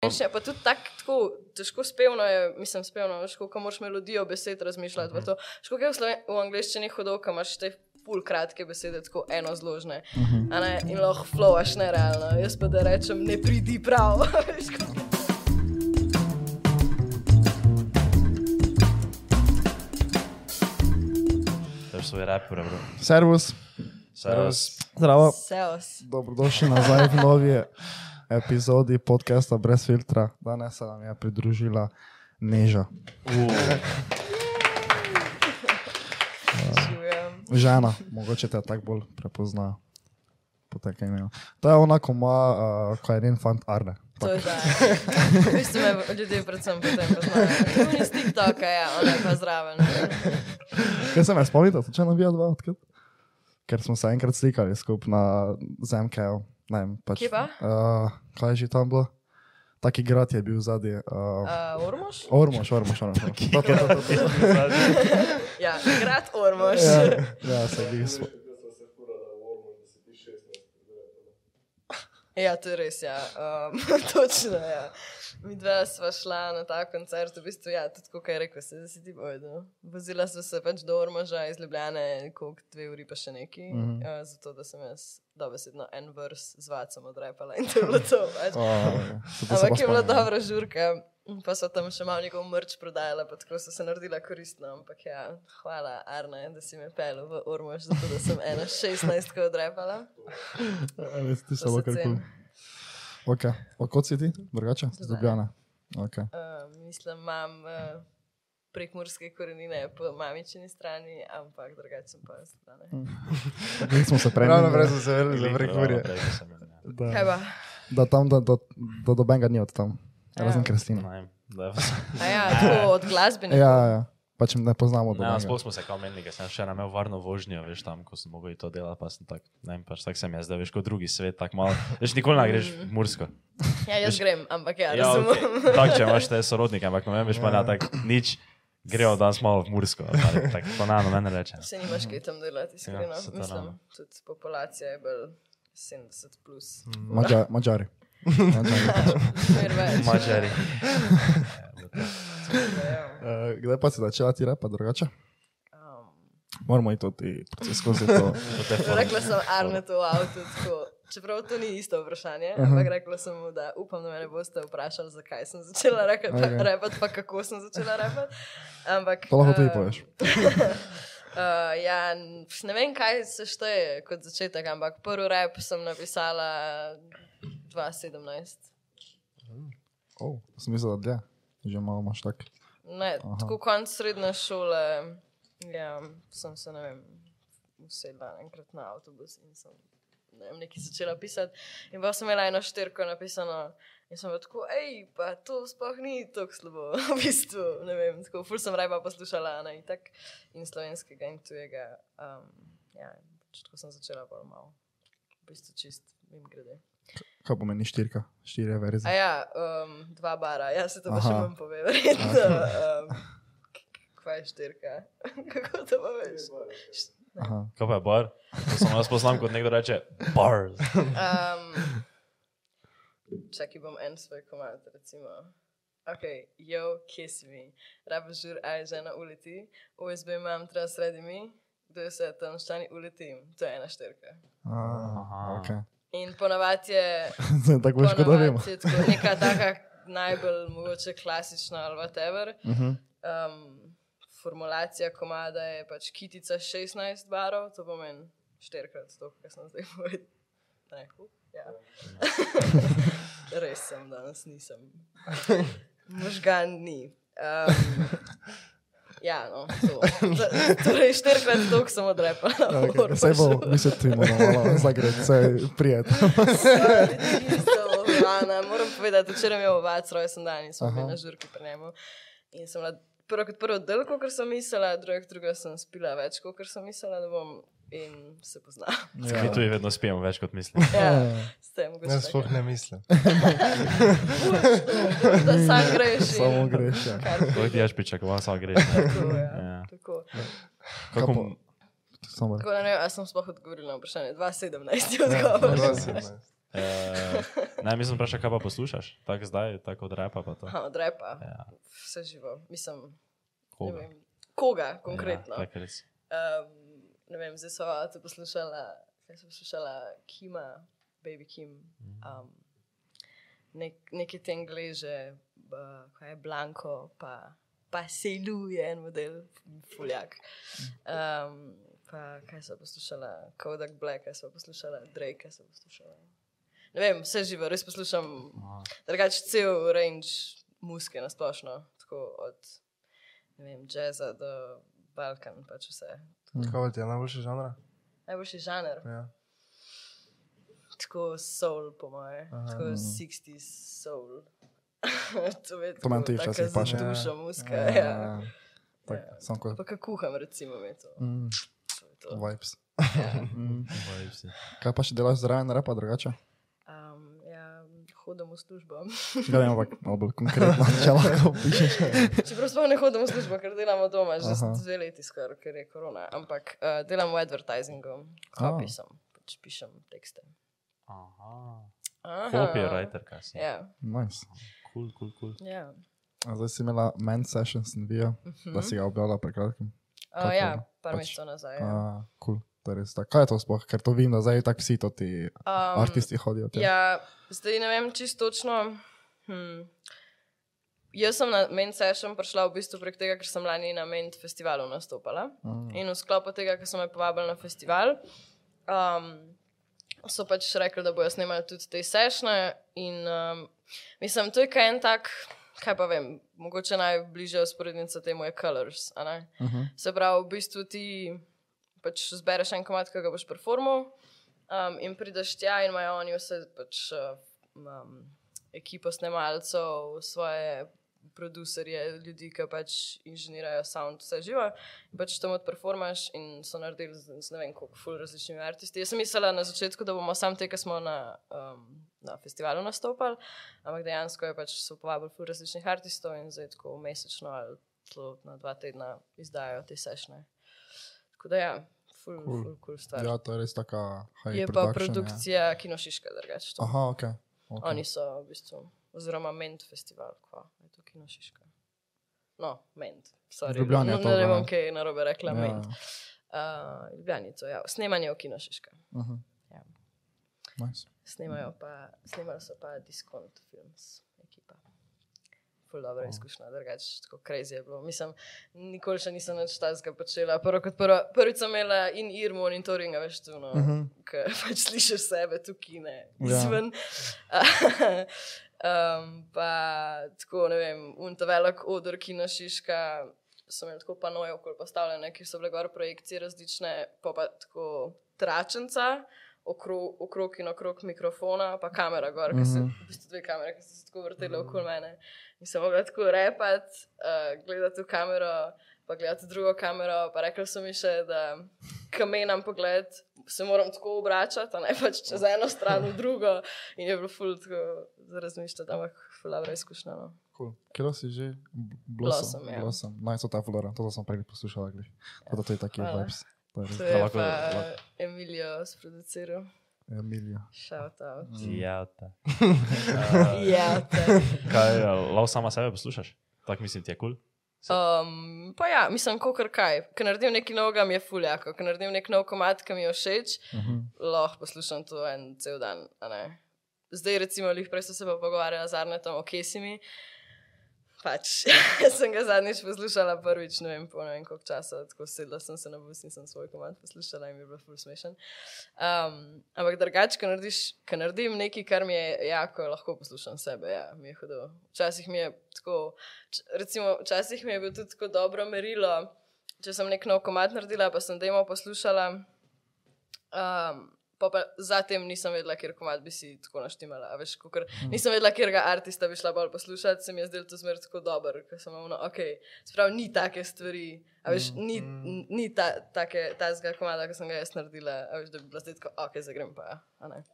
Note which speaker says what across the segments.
Speaker 1: piše, pa tudi tak, tako težko spevno je, mislim, spevno, veš, kako moraš melodijo besed razmišljati. Uh -huh. Škoda je v, sloven, v angleščini hodov, kam imaš te pol kratke besede, tako eno zložne. Uh -huh. ne, in lahko flowaš nerealno. Jaz pa da rečem, ne pridi prav.
Speaker 2: To je svoj rap, prav.
Speaker 3: Servus,
Speaker 2: Servus.
Speaker 3: zdravo,
Speaker 1: Seos.
Speaker 3: dobrodošli nazaj v novi epizodi podcasta Brez filtra. Danes se nam je pridružila Neža,
Speaker 1: Živim.
Speaker 3: žena, mogoče te tako bolj prepozna. po takem imenu. To je onako ima, uh, kaj je njen fant Arne.
Speaker 1: To je da. V bistvu me ljudje predvsem potem poznajo. Oni s TikToka, ja, ona je pa zraven.
Speaker 3: Kaj se me spomnite, če ne bi dva odkud? Ker smo se enkrat slikali skupaj na Zemkeju. Ne vem, pač.
Speaker 1: Kje pa?
Speaker 3: Uh, kaj je že tam bilo? Taki grad je bil zadnji. Uh,
Speaker 1: Uh, Ormož?
Speaker 3: Ormož, ormož, ormož. To, to, to, to, to.
Speaker 1: Ja, grad Ormož.
Speaker 3: Ja, ja, se bi smo.
Speaker 1: Ja, to je res, ja. Um, točno, ja. Mi dva sva šla na ta koncert, v bistvu, ja, tudi kot je rekel, se si ti bojo. Vozila sva se pač do Ormaža iz Ljubljane, koliko dve uri pa še neki, mm
Speaker 3: Mhm.
Speaker 1: -hmm. uh, zato da sem jaz dobesedno en vrst z vacom odrepala in to je bilo to. Pač.
Speaker 3: ja,
Speaker 1: Ampak je bila
Speaker 3: no.
Speaker 1: dobra žurka, pa so tam še malo njegov mrč prodajala, pa tako so se naredila koristna. Ampak ja, hvala Arne, da si me pel v Ormož, zato da sem ena 16 odrepala.
Speaker 3: Res
Speaker 1: To
Speaker 3: ti ja, samo
Speaker 1: se
Speaker 3: kar kul.
Speaker 1: ceni.
Speaker 3: Ok, kot si ti, drugače?
Speaker 1: Ljubljana.
Speaker 3: Zdobljena. Okay.
Speaker 1: Uh, mislim, imam uh, prekmurske korenine po mamičini strani, ampak drugače sem pa stane.
Speaker 3: Nismo se prej.
Speaker 4: Ravno brez se vrnili za prekurje.
Speaker 1: Kaj
Speaker 3: Da,
Speaker 1: pa?
Speaker 3: da tam, da, da, da dobenga ni od tam.
Speaker 1: Ja.
Speaker 3: Razen Kristina.
Speaker 2: Ne,
Speaker 1: A ja, tako od glasbene.
Speaker 3: Ja, ja, pač ne poznamo
Speaker 4: Ja,
Speaker 2: ne, no,
Speaker 3: dobenga.
Speaker 2: sploh smo se kao menili, ker sem še ena imel varno vožnjo, veš tam, ko sem mogel iti to delati, pa sem tak, ne vem, pač tak sem jaz, da veš kot drugi svet, tak malo, veš nikoli ne greš v Mursko.
Speaker 1: ja, jaz
Speaker 2: Veš-
Speaker 1: grem, ampak ja,
Speaker 2: Ja,
Speaker 1: razumem.
Speaker 2: okay. Tak, če imaš te sorodnike, ampak ne veš pa na tak nič, grejo danes malo v Mursko, ali tako, to na mene reče.
Speaker 1: Se nimaš kaj tam delati, iskreno.
Speaker 2: Ja, se to
Speaker 1: Mislim,
Speaker 2: ravno.
Speaker 1: tudi populacija je bolj 70 plus.
Speaker 2: Mhm.
Speaker 3: Mađa, Mađari. Mađari.
Speaker 1: Mer več.
Speaker 2: Mačari.
Speaker 1: Ja.
Speaker 3: Eh, Kdaj pa si začela ti repa drugače?
Speaker 1: Um,
Speaker 3: Moramo iti tudi precej skozi to.
Speaker 1: Rekla sem Arnetu v avtu, tako, čeprav to ni isto vprašanje, ampak rekla sem mu, da upam, da me ne boste vprašali, zakaj sem začela rekat-
Speaker 3: Ok.
Speaker 1: repati, pa kako sem začela repati. Ampak,
Speaker 3: To lahko tudi
Speaker 1: eh,
Speaker 3: poveš.
Speaker 1: Uh, ja, n- pš, ne vem, kaj se šteje kot začetek, ampak prvi rep sem napisala 2017.
Speaker 3: Oh, sem mislila, da je. Že malo imaš tak.
Speaker 1: Ne,
Speaker 3: Aha.
Speaker 1: tako konc srednje šole ja, sem se, ne vem, usedla enkrat na avtobus in sem ne vem, nekaj začela pisati. In pa sem imela eno štirko napisano. In sem bila tako, hej, pa to sploh ni tako slabo, v bistvu. Ne vem, tako ful sem rajba poslušala, a ne in tak, in slovenskega, in tujega. Um, ja, in pač tako sem začela bolj malo, v bistvu čist, jim grede.
Speaker 3: Kaj pomeni štirka? Štirje verzi.
Speaker 1: A ja, um, dva bara, jaz se to pa še
Speaker 3: Aha.
Speaker 1: bom povedal, verjetno. Um, kaj je štirka? Kako to pa veš?
Speaker 3: Aha.
Speaker 2: Kaj pa je bar? To sem jaz poznam, kot nekdo reče bar.
Speaker 1: Um, čakaj, bom en svoj komad, recimo. Ok, yo, kiss me. Rabo žur, a je žena uleti. USB imam treba sredi mi. Kdo je vse tam štani uleti? To je ena štirka.
Speaker 3: Aha. Okay.
Speaker 1: In ponavadi je
Speaker 3: Zdaj tako veš, kot da vemo.
Speaker 1: ponavadi je tako neka taka najbolj mogoče klasična ali whatever.
Speaker 3: Mhm.
Speaker 1: Um, formulacija komada je pač kitica 16 barov, to pomeni 4krat to, kar sem zdaj povedal. Rekel, Ja. Res sem danes, nisem. Možgan ni. Um, ja, no, to. T- Torej, štirikrat dolg sem odrepal.
Speaker 3: Okay. Saj bo, mislim, ti moramo zagreti, saj prijet.
Speaker 1: Ja. Ana, moram povedati, včeraj je imel ovac, rojsten dan in smo
Speaker 3: Aha.
Speaker 1: bili na žurki pri njemu. In sem bila prvo kot prvo del, kot sem mislila, drugo kot drugo sem spila več, kot sem mislila, da bom in se poznala.
Speaker 3: Ja.
Speaker 2: Mi tu vedno spijemo več kot mislim.
Speaker 1: Ja, s tem mogoče.
Speaker 4: Jaz sploh
Speaker 1: tako.
Speaker 4: ne mislim.
Speaker 1: Da sam greš. in-
Speaker 3: Samo greš, ja.
Speaker 1: Kar
Speaker 2: To ti
Speaker 1: pride.
Speaker 2: jaz pričakoval, samo greš. ne.
Speaker 1: Tako,
Speaker 2: Ja.
Speaker 1: ja. Tako.
Speaker 3: Kaj
Speaker 2: Kako
Speaker 3: pa- Samo
Speaker 1: Tako da ne vem, ali sem sploh odgovorila na vprašanje. 2017 je odgovor.
Speaker 4: Dva sedemnajst.
Speaker 2: Eh, ne, mislim, vprašaj, kaj pa poslušaš, tako zdaj, tako od repa pa to.
Speaker 1: Aha, od repa,
Speaker 2: Ja,
Speaker 1: vse živo. Mislim, koga,
Speaker 2: koga?
Speaker 1: ne vem, koga konkretno.
Speaker 2: Ja, tako res.
Speaker 1: um, ne vem, zdaj sem avto poslušala, kaj sem poslušala, Kima, Baby Kim, um, nek, neke te angleže, uh, kaj je Blanko, pa, pa Selu je en model, Fuljak. Um, pa kaj sem poslušala, Kodak Black, kaj sem poslušala, Drake, kaj sem poslušala. Ne vem, vse živo, res poslušam
Speaker 2: Aha.
Speaker 1: drugače cel range muske na splošno, tako od ne vem, jazza do Balkan, pač vse.
Speaker 3: Mhm.
Speaker 4: Kaj ti je najboljši žanr?
Speaker 1: Najboljši žanr,
Speaker 4: Ja.
Speaker 1: tako soul, po moje,
Speaker 4: Aha.
Speaker 3: mhm.
Speaker 1: tako 60s soul. to je
Speaker 3: To meni tudi
Speaker 1: taka
Speaker 3: včasih paše.
Speaker 1: zaduša muska.
Speaker 4: Ja,
Speaker 1: Ja, ja.
Speaker 3: Tako,
Speaker 1: Ja.
Speaker 3: samo kot
Speaker 1: Pa kako kuham, recimo, mi je to.
Speaker 3: mm,
Speaker 1: to, je to.
Speaker 3: vibes.
Speaker 1: Ja.
Speaker 3: Mm.
Speaker 2: Boji se.
Speaker 3: Kaj pa še delaš zraven repa drugače?
Speaker 1: Um, ja, hodim v službo.
Speaker 3: Ja, vem, ampak malo bolj konkretno, če lahko pišeš.
Speaker 1: Čeprav sploh ne hodim v službo, ker delamo doma, že
Speaker 3: Aha.
Speaker 1: dve leti skoraj, ker je korona. Ampak uh, delam v advertisingu, kopisom, pač pišem tekste.
Speaker 2: Aha.
Speaker 1: Aha.
Speaker 2: Copywriter, kaj si.
Speaker 1: Ja,
Speaker 3: Nice.
Speaker 2: Kul, kul, kul.
Speaker 1: ja.
Speaker 3: A Zdaj si imela men sessions in video,
Speaker 1: Mhm.
Speaker 3: da si ga objavila pred kratkim.
Speaker 1: Uh, ja, par
Speaker 3: Pač,
Speaker 1: pač, mesecev nazaj. ja.
Speaker 3: Ja. Cool. To je res tako. Kaj je to sploh? Ker to vidim, da zdaj tako vsi to ti
Speaker 1: Um,
Speaker 3: artisti hodijo. tja.
Speaker 1: Ja, zdaj ne vem čisto točno. Hm. Jaz sem na main session prišla v bistvu prek tega, ker sem lani na main festivalu nastopala.
Speaker 3: Mm.
Speaker 1: In v sklopu tega, ker so me povabili na festival, um, so pač rekli, da bojo snemali tudi te sešne. In um, mislim, to je kaj en tak, kaj pa vem, mogoče najbližja usporednica temu je Colors. a ne?
Speaker 3: Mhm.
Speaker 1: Se pravi, v bistvu ti pač zbereš en komat, ki ga boš performal, um, in prideš tja, in imajo oni vse, pač uh, um, ekipo snemalcev, svoje producerje, ljudi, ki pač inženirajo sound, vse živo. In pač tam odperformaš in so naredili z, z ne vem koliko ful različnimi artisti. Jaz sem mislila na začetku, da bomo sam te, ki smo na, um, na festivalu nastopali, ampak dejansko je pač so povabili ful različnih artistov in zdaj tako mesečno ali celo na dva tedna izdajo te sešne. Tako da ja, ful,
Speaker 3: Cool.
Speaker 1: cool. ful, cool stvar.
Speaker 3: ja, to je res taka high
Speaker 1: Je pa
Speaker 3: production,
Speaker 1: produkcija ja. Kinošiška, drugače.
Speaker 3: Ja.
Speaker 1: to.
Speaker 3: Aha, ok. okay.
Speaker 1: Oni so v bistvu, oziroma Ment festival, kva je to Kinošiška. No, Ment, sorry.
Speaker 3: Ljubljani je
Speaker 1: no,
Speaker 3: to,
Speaker 1: ne
Speaker 3: ne?
Speaker 1: bom kaj narobe rekla, ja. Ment.
Speaker 3: ja.
Speaker 1: Uh, Ljubljani to, ja. Snemanje v Kinošiška.
Speaker 3: Mhm.
Speaker 1: Ja.
Speaker 3: Nice.
Speaker 1: Snemajo pa, snemali so pa Discount Films ekipa. Ful dobra
Speaker 2: Oh.
Speaker 1: izkušnja, drugače tako crazy je bilo. Mislim, nikoli še nisem nič tajskega počela. Prvo kot prvo, prvič sem imela in ir monitoringa, veš, tu no. Uh -huh.
Speaker 3: Mhm.
Speaker 1: Ker pač slišiš sebe tukaj, ne
Speaker 3: Ja.
Speaker 1: izven. um, pa tako, ne vem, unta velik odor, ki našiška, so imeli tako panoje okoli postavljene, ki so bile gor projekcije različne, pa pa tako tračenca. Okrog, okrog in okrog mikrofona, pa kamera gor, ki se,
Speaker 3: Mhm.
Speaker 1: v bistvu dve kamere, ki so se tako vrtele
Speaker 2: Mhm.
Speaker 1: okoli mene. In sem mogla tako repati, uh, gledati v kamero, pa gledati v drugo kamero. Pa rekli so mi še, da kamenam pogled, se moram tako obračati, a ne pač čez
Speaker 2: Oh.
Speaker 1: eno stran v drugo. In je bilo ful tako za razmišljati, ampak fulabra izkušnja. No.
Speaker 3: Cool. Kdo si že? B-
Speaker 1: Blossom,
Speaker 3: Blossom.
Speaker 1: ja.
Speaker 3: Blossom. Nice, to je ta flora, to smo prej poslušali. glih. Tako da to je taki
Speaker 1: hvala.
Speaker 3: vibes. To je
Speaker 1: To
Speaker 3: res.
Speaker 1: je
Speaker 2: Mhm. Ja, lahko-
Speaker 1: pa
Speaker 2: lahko-
Speaker 1: Emilijo sproduciral,
Speaker 3: Ja, Emilija.
Speaker 1: shout out.
Speaker 2: Jata.
Speaker 1: Ja, te.
Speaker 2: Eh, Kaj, lao sama sebe poslušaš? Tako mislim, ti je kul?
Speaker 1: Um, pa ja, mislim, kakor kaj. Ker naredim nekaj novega, mi je fuljako. Ker naredim nek nov komat, ki mi je všeč,
Speaker 3: Mhm.
Speaker 1: lahko poslušam to en cel dan. a ne. Zdaj, recimo, lih prej sem se pa pogovarjala z Arnetom o Kesimi. Pač sem ga zadnjič poslušala, prvič, ne vem, po ne vem koliko časa, tako sedla sem se na bus in sem svoj komat poslušala in mi je bilo ful smešen. Um, ampak drugače, ko, narediš- ko naredim nekaj, kar mi je jako, lahko poslušam sebe, ja, mi je hudo. Včasih mi je tako, č- recimo, včasih mi je bilo tudi tako dobro merilo, če sem nek nov komat naredila, pa sem demo poslušala. Um, pa pa zatem nisem vedela, kjer komat bi si tako naštimala. a Veš, kakor,
Speaker 4: Mm.
Speaker 1: nisem vedela, kjer ga artista bi šla bolj poslušati, se mi je zdelo to zmer tako dobro, ker sem umno, ok, sprav ni take stvari, a veš,
Speaker 4: Mm,
Speaker 1: ni,
Speaker 4: mm.
Speaker 1: n- ni ta, take, tazga komada, ki sem ga jaz naredila, a veš, da bi bila zdaj tako, ok, zagrem pa, a ne.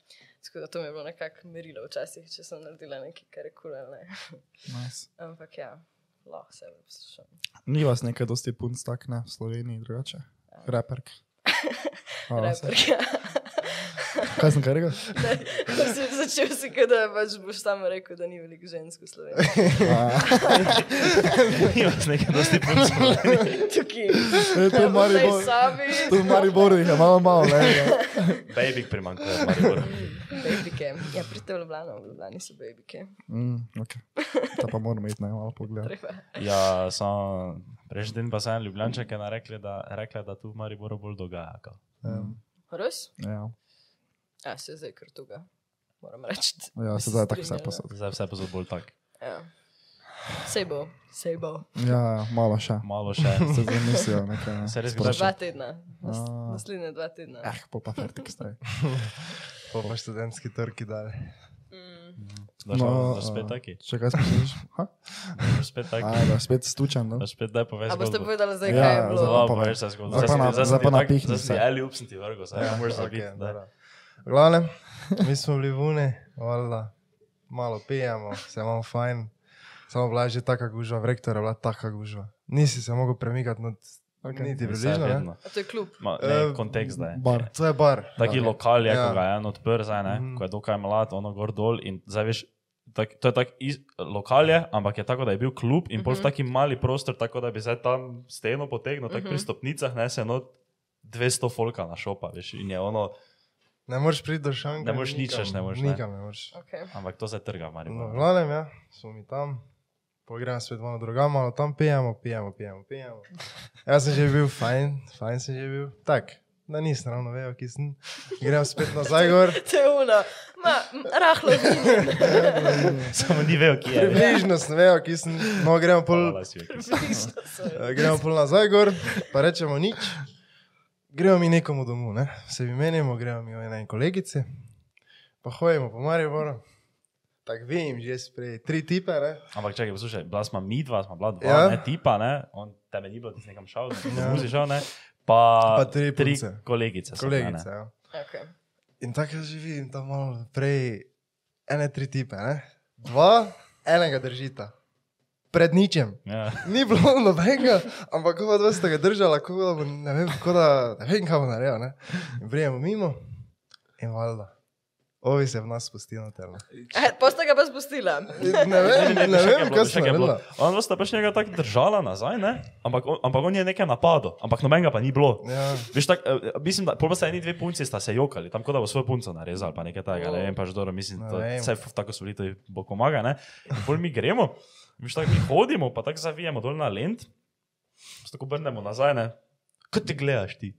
Speaker 1: Tako da to mi je bilo nekako merilo včasih, če sem naredila nekaj, kar je kul ali ne.
Speaker 3: Nice.
Speaker 1: Ampak ja, lahko se poslušam.
Speaker 3: Ni vas nekaj dosti punc
Speaker 1: Ja.
Speaker 3: tak, ne, v Sloveniji drugače? Reperk.
Speaker 1: Reperka.
Speaker 3: Kaj sem kaj rekel?
Speaker 1: Ne, si- Začel si, kot da pač boš tam rekel, da ni veliko žensk v Sloveniji.
Speaker 3: A,
Speaker 2: Imaš nekaj dosti puncev.
Speaker 1: Tukaj,
Speaker 3: e, to je
Speaker 1: v tej
Speaker 3: Maribor.
Speaker 1: sobi.
Speaker 3: To je Maribor, jih je malo malo, ne. ja.
Speaker 2: Baby primanjkuje, Maribor.
Speaker 1: Babike. Mm, Ja, pridite v Ljubljano, v Ljubljani so babike.
Speaker 3: Mm, okay. Ta pa moramo iti, ne, malo pogledati.
Speaker 1: Treba.
Speaker 2: Ja, samo prejšnji teden pa sem Ljubljančanka je rekla, da, rekla, da tu v Mariboru bolj dogaja. kao.
Speaker 3: Um,
Speaker 1: Horus?
Speaker 3: ja,
Speaker 1: Ja, se je zdaj kar tuga. Moram reči.
Speaker 3: ja
Speaker 1: Se
Speaker 3: sedaj je tako vse
Speaker 1: strinjava.
Speaker 3: posod.
Speaker 2: Zdaj vse pa so bolj tako.
Speaker 1: Ja. Sej bo, sej bo.
Speaker 3: Ja, ja, malo še.
Speaker 2: Malo še.
Speaker 3: Se zamislijo nekaj. Ne.
Speaker 2: Se res
Speaker 3: Sprašujem.
Speaker 1: Dva tedna. Nas,
Speaker 3: A.
Speaker 1: naslednje dva tedna.
Speaker 3: Eh, pol pa fertik zdaj.
Speaker 4: Pa pa študentski trg dal.
Speaker 1: Mm.
Speaker 2: Daš no, spet taki.
Speaker 3: Če kaj sprašuješ? Ha?
Speaker 2: Daš spet
Speaker 3: A,
Speaker 2: taki.
Speaker 3: da, spet stučam, no.
Speaker 2: Daš spet daj poveš.
Speaker 1: A boste
Speaker 2: zgodbo.
Speaker 1: povedali zdaj,
Speaker 3: Ja,
Speaker 1: kaj je
Speaker 3: ja,
Speaker 1: bilo?
Speaker 3: zdaj
Speaker 2: Zelo
Speaker 3: pa
Speaker 2: poveš,
Speaker 3: povej.
Speaker 2: da zgodbo.
Speaker 3: Zdaj pa na- zdaj pa napihni
Speaker 2: Zdaj si
Speaker 3: se.
Speaker 2: ali upsni ti vrgo, zdaj ja, moraš
Speaker 4: okej,
Speaker 2: zabiti. Okay,
Speaker 4: dobro. V glavnem, mi smo bili vune, valjda, malo pijemo, se imamo fajn. Samo bila je že taka gužva, v rektorju je bila taka gužva. Nisi se mogel premikati, not,
Speaker 3: Ok.
Speaker 4: okay. niti približno. ne.
Speaker 1: A to je kljub.
Speaker 2: Ma, ne,
Speaker 4: Eh,
Speaker 2: kontekst zdaj.
Speaker 3: Bar.
Speaker 4: To je bar.
Speaker 2: Taki okay.
Speaker 4: Ok.
Speaker 2: lokal je,
Speaker 4: Ja.
Speaker 2: ja. ko ga je en odprl, zdaj, ne,
Speaker 4: Mhm.
Speaker 2: ko je dokaj mlad, ono gor dol. in zdaj Veš, tak, to je tak iz, lokal, je, ampak je tako, da je bil klub in pol v
Speaker 1: Mhm.
Speaker 2: taki mali prostor, tako da bi zdaj tam steno potegnil,
Speaker 1: Mhm.
Speaker 2: tako pri stopnicah, ne se eno 200 folka na šopa, veš, in je ono,
Speaker 4: Ne moreš priti do šanka.
Speaker 2: Ne moreš nič
Speaker 4: nikam,
Speaker 2: več ne moreš, ne.
Speaker 4: Nikam ne moreš.
Speaker 1: Okay.
Speaker 2: ampak to se trga,
Speaker 4: No, v
Speaker 2: Maribor.
Speaker 4: glavnem, ja, smo mi tam, pogremo spet malo drugam, malo tam pijemo, pijemo, pijemo. pijemo. Jaz sem že bil fajn, fajn sem že bil. Tak, da nisem ravno vejo, ki sem. Gremo spet nazaj gor,
Speaker 2: Ja,
Speaker 1: To je uno. Ma, m, rahlo vidim.
Speaker 2: Samo ni vejo, kje je. veš.
Speaker 4: približno sem vejo, ki sem. No, gremo pol,
Speaker 2: ja. Hvala, si jo, ki si-
Speaker 1: Približno so.
Speaker 4: eh, gremo pol nazaj gor, pa rečemo nič. Gremo mi nekomu domov, ne? se mi menimo, gremo mi v ene kolegice, pa hodimo po Mariboru. Tako vem, že sprej tri tipe, ne?
Speaker 2: Ampak čakaj, poslušaj, bila smo mi dva, smo bila dva,
Speaker 4: Ja.
Speaker 2: ja. ne, tipa, ne, on tebe ni bilo, ti si nekam šel, ti si
Speaker 4: Ja.
Speaker 2: ja. šel, ne, pa,
Speaker 4: Pa tri
Speaker 2: tri
Speaker 4: punce.
Speaker 2: kolegice. so bile, ne.
Speaker 4: kolegice. Ja.
Speaker 1: Okay.
Speaker 4: In tako jaz že vidim tam malo prej, ene tri tipe, ne? dva, enega držita. Pred ničem.
Speaker 2: Ja.
Speaker 4: Ni bilo nobenega, ampak kako dva sta ga držala, kako da, bo, ne vem, kako da, ne vem, kaj bo naredil. ne. In Prijemo mimo in valjda. Ovi se v nas spustijo na terenu.
Speaker 1: Eh, Posta ga pa spustila.
Speaker 4: Ne vem, ne
Speaker 2: čakaj,
Speaker 4: vem,
Speaker 2: bilo,
Speaker 4: kaj se
Speaker 2: čakaj,
Speaker 4: je
Speaker 2: bilo.
Speaker 4: bilo.
Speaker 2: On vas je pač njega tako držala nazaj, ne? ampak on, ampak on je nekaj napadal, ampak nobenega pa ni bilo.
Speaker 4: Ja,
Speaker 2: Veš, tak, eh, mislim, da prvo sta eni dve punci sta se jokali, tam kot da bo svojo punco narezal, pa nekaj takega, ne vem, pač dobro, mislim,
Speaker 4: Ne
Speaker 2: to,
Speaker 4: vem.
Speaker 2: vse v- tako so bili, to je bo pomaga, ne. In bolj mi gremo, veš, tako mi hodimo, pa tako zavijemo dol na lent, se tako obrnemo nazaj, ne. Kot te gledaš ti?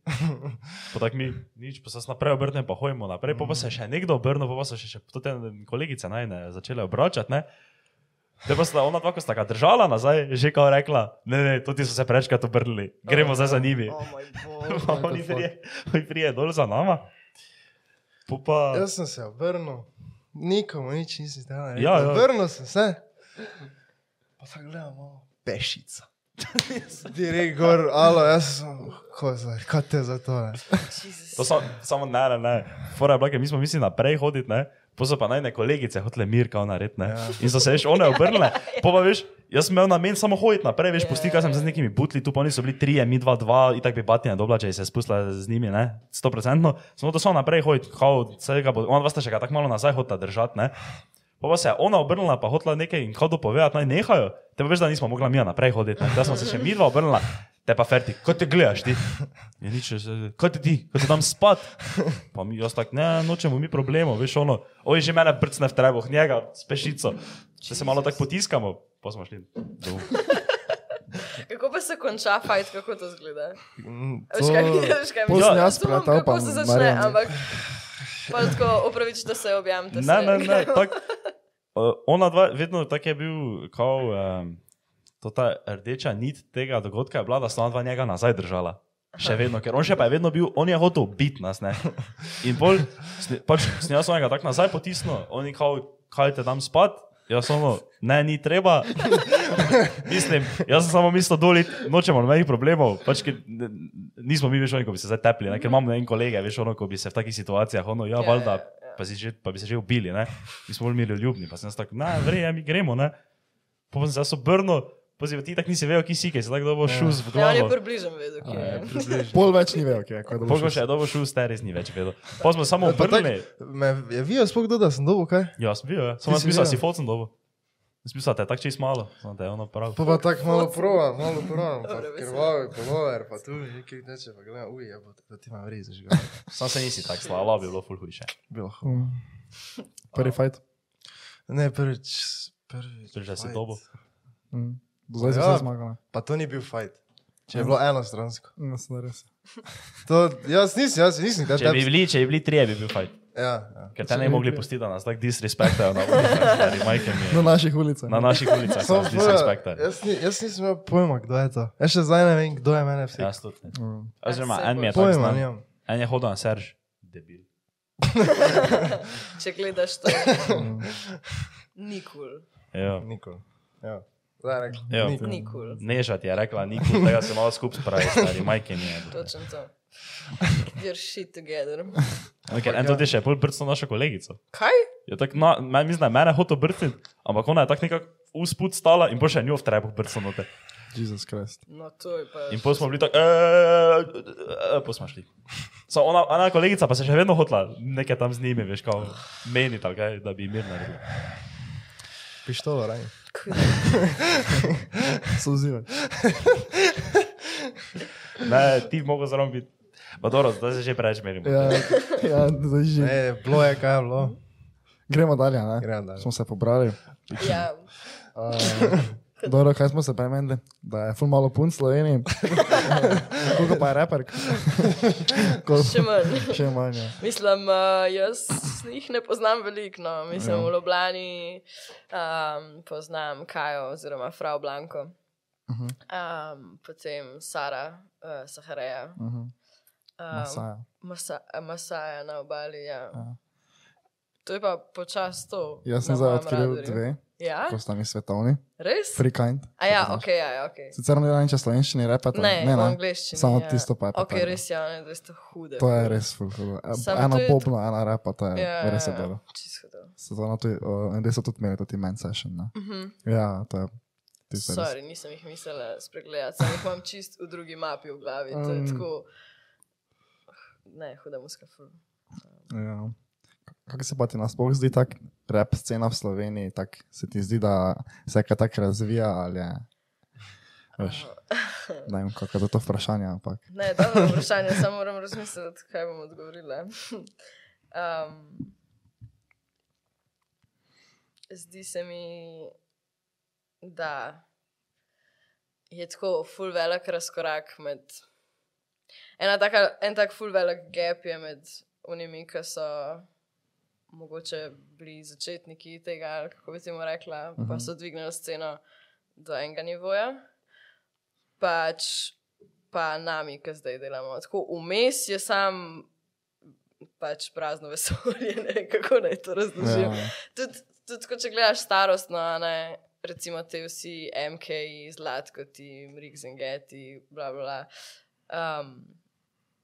Speaker 2: Pa tako mi nič, pa se jaz naprej obrnem, pa hojimo naprej, pa, pa
Speaker 4: Mm.
Speaker 2: se je še nekdo obrnil, pa, pa se je še, še to te kolegice najne začele obračati, ne. Te pa sta ona dva, ko sta ga držala nazaj, že kao rekla, ne, ne, tudi so se prečkrat obrnili, gremo zdaj za njimi.
Speaker 1: O moj bog.
Speaker 2: Pa Oni prije, oni prije dol za nama. Po Pa,
Speaker 4: jaz sem se obrnil, nikomu nič nisem zdaj.
Speaker 2: Ja, ja.
Speaker 4: Obrnil sem se, pa tako gledamo, pešica. Direkt gor, alo, jaz sem, ko za- kaj te za to je.
Speaker 2: to sam, samo ne, ne, ne. Fora je bila, ker mi smo mislili naprej hoditi, ne. Pa so pa najne kolegice hotele mir, kao narediti, ne.
Speaker 4: Ja.
Speaker 2: In so se veš, one obrnile. Pa pa veš, jaz sem imel namen samo hoditi naprej, veš, pusti, kaj sem se z nekimi butli, tu pa oni so bili trije, mi dva, dva, in tako bi batnja dobla, če bi se spustila z njimi, ne. Sto procentno. Samo to samo naprej hoditi, kao, vsega bo, on vas sta še ga tako malo nazaj hotela držati, ne. Pa, pa se je ona obrnila, pa hotla nekaj in hodo povedati, naj nehajo. Te pa veš, da nismo mogli mi naprej hoditi, ne. da smo se še mi dva obrnila. Te pa ferti, kot te gledaš ti. Je nič, eh, kaj ti ti, kaj ti tam spad? Pa mi, jaz tako, ne, nočemo mi problemov, veš ono, oj, že mene prcne v trebuh, njega, spešico. Če se malo tako potiskamo, pa smo šli domov.
Speaker 1: Kako pa se konča fajt, kako to zgleda?
Speaker 4: Mm,
Speaker 1: Veš kaj,
Speaker 4: to-
Speaker 1: veš kaj, Ja,
Speaker 3: to sem jaz
Speaker 1: razumem,
Speaker 3: pretal,
Speaker 1: kako
Speaker 3: pa
Speaker 1: se začne,
Speaker 3: Marjan je.
Speaker 1: ampak pa tako opravičite se, objamite se.
Speaker 2: Ne, ne, ne, tako. Uh, ona dva, vedno tako je bil, kao, um, to ta rdeča nit tega dogodka je bila, da sta ona dva njega nazaj držala. Še vedno, ker on še pa je vedno bil, on je hotel biti nas, ne. In bolj, sne- pač snijal sem ga tako nazaj potisnil, on je kao, kaj te tam spat, jaz samo, ne, ni treba. Mislim, jaz sem samo mislil, da nočemo nobenih problemov. Pač, ki, ne, nismo mi več oni, ko bi se zdaj tepli, ne? ker imamo en kolega, veš, ono, ko bi se v takih situacijah, ono, ja,
Speaker 1: Ja,
Speaker 2: valjda,
Speaker 1: ja, ja.
Speaker 2: pa, si že, pa bi se že ja, ubili, ne? mi smo bili ljubni, pa sem jaz tako, ne, verjemi, gremo. Ne? Pa sem se jaz obrnil, Poziv, ti tako nisi vedel, ki si, ki si tako dobo
Speaker 4: Ja.
Speaker 2: šus v
Speaker 1: Ja, on je
Speaker 2: glavo.
Speaker 1: približen vedel, kje
Speaker 2: Ja,
Speaker 1: je.
Speaker 4: Približno.
Speaker 3: Pol več ni vedel, kaj je. ko je dobil
Speaker 2: Pogo
Speaker 3: šus.
Speaker 2: še je dobo šus, teres ni več vedel. Pa smo samo
Speaker 4: Ja, pa tako-
Speaker 2: obrnili.
Speaker 4: Me je videl, sploh kdo, da sem dobil kaj?
Speaker 2: Ja, sem bil, ja. samo jaz
Speaker 4: Ti si
Speaker 2: mislim, da
Speaker 4: bil.
Speaker 2: si focen dobo. Smisel, da je tako čist malo, samo da je ono prav.
Speaker 4: Pa pa tako malo provam, malo provam, pa
Speaker 1: Dobro, mislim.
Speaker 4: krvavi polover, pa tu mi nekaj teče, pa gledam, uj, ja, da ti imam res žgal.
Speaker 2: Sam se nisi tako slabo, lobby je bilo ful hujše.
Speaker 4: Bilo hudo.
Speaker 3: Mm. Prvi fight.
Speaker 4: Ne, prvič, prvič.
Speaker 2: Prvič, da si
Speaker 4: fight.
Speaker 2: dobil.
Speaker 3: Mm. Do zdaj si
Speaker 4: Ja.
Speaker 3: vse zmagal.
Speaker 4: Pa to ni bil fight. Če je bilo enostransko.
Speaker 3: Ne, se da res.
Speaker 4: To, jaz nisem, jaz nisem, da
Speaker 2: Če bi bili, če bi bili trije, bi bil fajn.
Speaker 4: Ja, ja.
Speaker 2: Ker te ne bi
Speaker 3: bi
Speaker 2: mogli
Speaker 3: bili.
Speaker 2: pustiti, da nas tako disrespektajo na ulicah, stari, majke mi
Speaker 3: Na
Speaker 2: je.
Speaker 3: naših ulicah.
Speaker 2: Na naših ulicah
Speaker 4: No. Samo
Speaker 2: nas
Speaker 4: fora,
Speaker 2: disrespektajo.
Speaker 4: Jaz, ni- jaz nisem imel pojma, kdo je to. Jaz še zdaj ne vem, kdo je mene vse.
Speaker 2: Jaz tudi ne.
Speaker 3: Mm.
Speaker 2: Oziroma,
Speaker 1: se
Speaker 2: en mi Ja, je tako
Speaker 4: Pojma,
Speaker 2: znan.
Speaker 4: nimam.
Speaker 2: En je hodil na Serž. Debil.
Speaker 1: Če gledaš to,
Speaker 3: Mm.
Speaker 1: nikul.
Speaker 2: Ja.
Speaker 4: Nikoli. Ja. Zdaj rekli.
Speaker 2: Ja.
Speaker 4: nikoli.
Speaker 1: Nikul.
Speaker 2: Nežat je rekla, nikoli tega se malo skupaj spravi, stari, majke mi je.
Speaker 1: Točno to. You're shit together.
Speaker 2: Okay, en tudi še, pol brcno našo kolegico.
Speaker 1: Kaj?
Speaker 2: Je tako, na, meni mislim, da je mene hotel brcniti, ampak ona je tako nekako usput stala in pa še njo v trebuh brcno noter.
Speaker 3: Jezus Krist.
Speaker 1: No, to je pa.
Speaker 2: In pa smo bili tako, eee, pa smo šli. So ona, ona kolegica pa se še vedno hotla, nekaj tam z njimi, veš, kao, meni tako, kaj, da bi mirno naredila.
Speaker 4: Pištolo, raj.
Speaker 3: Se odzivaj.
Speaker 2: Ne, ti bi mogel zraven biti. Pa dobro, zdaj se že preveč merimo.
Speaker 3: Ja, ja, zdaj že.
Speaker 4: Ne, bilo je, kaj je bilo.
Speaker 3: Gremo dalje, ne?
Speaker 4: Gremo dalje.
Speaker 3: Smo se pobrali.
Speaker 1: Ja,
Speaker 3: Uh, Dobro, kaj smo se premenili? Da je ful malo punc v Sloveniji. Koliko pa je reper?
Speaker 1: še manj.
Speaker 3: Še manj. ja.
Speaker 1: Mislim, uh, jaz jih ne poznam veliko, no. mislim, v
Speaker 3: Ja.
Speaker 1: Ljubljani um, poznam Kajo oziroma Frau Blanko,
Speaker 3: Mhm,
Speaker 1: um, potem Sara uh, Sahareja,
Speaker 3: mhm.
Speaker 1: um,
Speaker 3: Masaja.
Speaker 1: Masa, Masaja na obali. Ja.
Speaker 3: Ja.
Speaker 1: To je pa počas to.
Speaker 3: Jaz sem
Speaker 1: na
Speaker 3: zdaj
Speaker 1: mojem
Speaker 3: odkril
Speaker 1: radarju.
Speaker 3: dve,
Speaker 1: Ja,
Speaker 3: ko sta mi svetovni.
Speaker 1: res?
Speaker 3: Free kind.
Speaker 1: A ja, ok, ja, ja, ok.
Speaker 3: Sicer ne vem, če slovenščini repete.
Speaker 1: Ne, ne, v angleščini.
Speaker 3: Samo
Speaker 1: ja.
Speaker 3: tisto pa je pa
Speaker 1: Ok,
Speaker 3: tako.
Speaker 1: res je, ja, ne, da ste hude.
Speaker 3: To je res ful hudo. E,
Speaker 1: Samo
Speaker 3: Ena
Speaker 1: to je-
Speaker 3: popna, ena repa, to je
Speaker 1: Ja,
Speaker 3: res je dobro.
Speaker 1: Čisto hudo.
Speaker 3: Se to na to, uh, in so tudi imeli tudi men session. Ne?
Speaker 1: Mhm.
Speaker 3: Ja, to je. tisto je res-
Speaker 1: Sorry, nisem jih mislila spregledati, sem jih imam čist v drugi mapi v glavi. To je
Speaker 3: Mm.
Speaker 1: tako. ah, Ne, huda muska. ful.
Speaker 3: Ja. Kako se pa ti nasploh zdi ta rep scena v Sloveniji? Tak, se ti zdi, da se kaj tako razvija? ali je- Veš, ne vem, kako je to- to vprašanje, ampak
Speaker 1: No, Ne, dobro vprašanje, samo moram razmisliti, kaj bom odgovorila. Um, zdi se mi, da je tako ful velik razkorak med. Ena taka, en tak ful velik gap je med unimi, ki so mogoče bili začetniki tega, ali kako bi temu rekla, uh -huh. pa
Speaker 3: Mhm.
Speaker 1: so dvignili sceno do enega nivoja. Pač pa nami, ki zdaj delamo. Tako vmes je sam pač prazno vesolje, ne, kako naj to razložim.
Speaker 3: ja,
Speaker 1: Tudi, tudi ko če gledaš starostno, a ne, recimo te vsi MK-ji, Zlatkoti, Mrigzengeti, bla bla. bla. Um,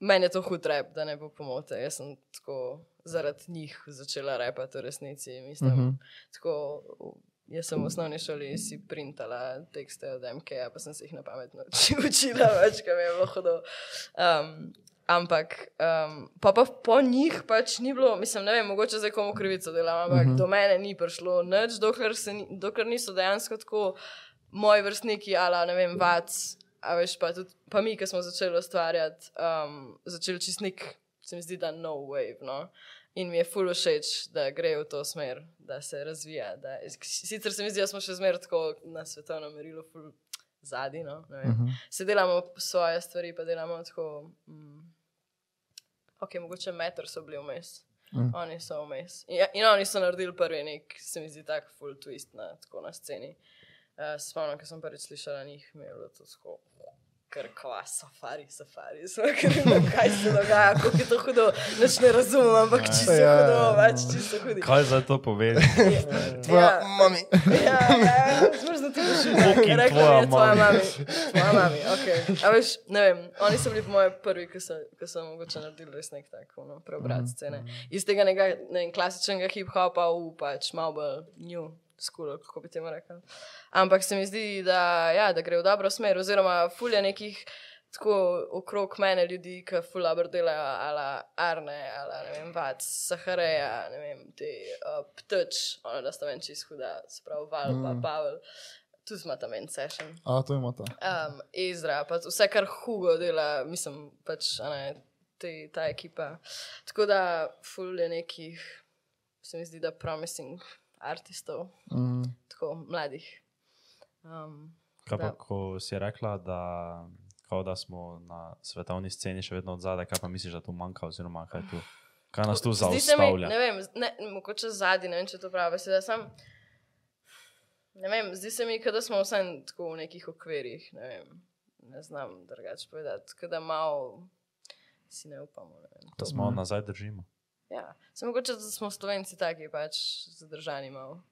Speaker 1: meni je to hud rep, da ne bo pomote. Jaz sem tako zaradi njih začela repati v resnici. Mislim, uh
Speaker 3: Mhm.
Speaker 1: -huh. tako, jaz sem v osnovni šoli si printala tekste od MK-ja, pa sem se jih na pamet nauči- učila, več, kaj mi je bilo hodo. Um, Ampak um, pa, pa po njih pač ni bilo, mislim, ne vem, mogoče zdaj komu krivico delam, ampak
Speaker 3: Mhm.
Speaker 1: do mene ni prišlo nič, dokler, se ni, dokler niso dejansko tako moji vrstniki, ali ne vem, vac, a veš pa tudi pa mi, ki smo začeli ustvarjati, um, začeli čistnik, se mi zdi, da no wave. No? In mi je fully všeč, da gre v to smer, da se razvija. Da, sicer se mi zdi, da smo še zmeraj tako na svetovnem merilu, fully zadnji. No? ne vem
Speaker 3: mhm.
Speaker 1: se delamo svoje stvari, pa delamo tako. Mm, ok, mogoče metr so bili vmes.
Speaker 3: Mm.
Speaker 1: Mm. Oni so vmes. In, in oni so naredili prvi nek, se mi zdi, tak full twist na, tako na sceni. Uh, Spomnim, ko sem prvič slišala njih, mi je bilo to tako. Ker kva, safari, safari, samo ker ne vem, kaj se dogaja, kako je to hudo, noč ne razumem, ampak čisto
Speaker 4: Ja.
Speaker 1: hudo, več čisto hudi.
Speaker 2: Kaj za to poveš?
Speaker 4: Tvoja
Speaker 1: Ja.
Speaker 4: mami.
Speaker 1: Ja, ja, zmrznuti duši.
Speaker 2: Fucking
Speaker 1: Rekla
Speaker 2: tvoja
Speaker 1: mi je tvoja
Speaker 2: mami.
Speaker 1: mami. Tvoja mami, ok. A veš, ne vem, oni so bili po moje prvi, ki so, ki so mogoče naredili res nek tak, ono, preobrat scene. Iz tega nekaj, ne vem, klasičnega hip-hopa v pač malo bolj new skulo, kako bi temu rekel. Ampak se mi zdi, da, ja, da gre v dobro smer, oziroma fulje nekih tako okrog mene ljudi, ki fulabr delajo, ala Arne, ala ne vem, Vac, Sahareja, ne vem, ti uh, Pteč, ono da sta meni čist huda, se pravi Val, mm. pa
Speaker 3: Mm.
Speaker 1: Pavel, tu smo tam en session.
Speaker 3: A, to ima ta.
Speaker 1: Um, Ezra, pa vse, kar Hugo dela, mislim, pač a ne, te, ta ekipa. Tako da, full je nekih, se mi zdi, da promising artistov,
Speaker 2: Mhm.
Speaker 3: Mm.
Speaker 1: tako mladih. Um,
Speaker 2: Kaj pa,
Speaker 1: Da.
Speaker 2: ko si rekla, da, kao da smo na svetovni sceni še vedno odzadaj, kaj pa misliš, da tu manjka, oziroma kaj, tu, kaj nas tu
Speaker 1: Zdi se mi,
Speaker 2: zaustavlja?
Speaker 1: ne vem, z- ne, mogoče zadnji, ne vem, če je to pravi beseda. Sam, ne vem, zdi se mi, kot da smo vsaj tako v nekih okvirih. Ne, vem, ne znam drugače povedati, kot da malo si ne upamo. Ne vem.
Speaker 2: Da
Speaker 4: Mm.
Speaker 2: smo nazaj držimo.
Speaker 1: Ja, se mogoče da smo slovenci taki, pač zadržani malo.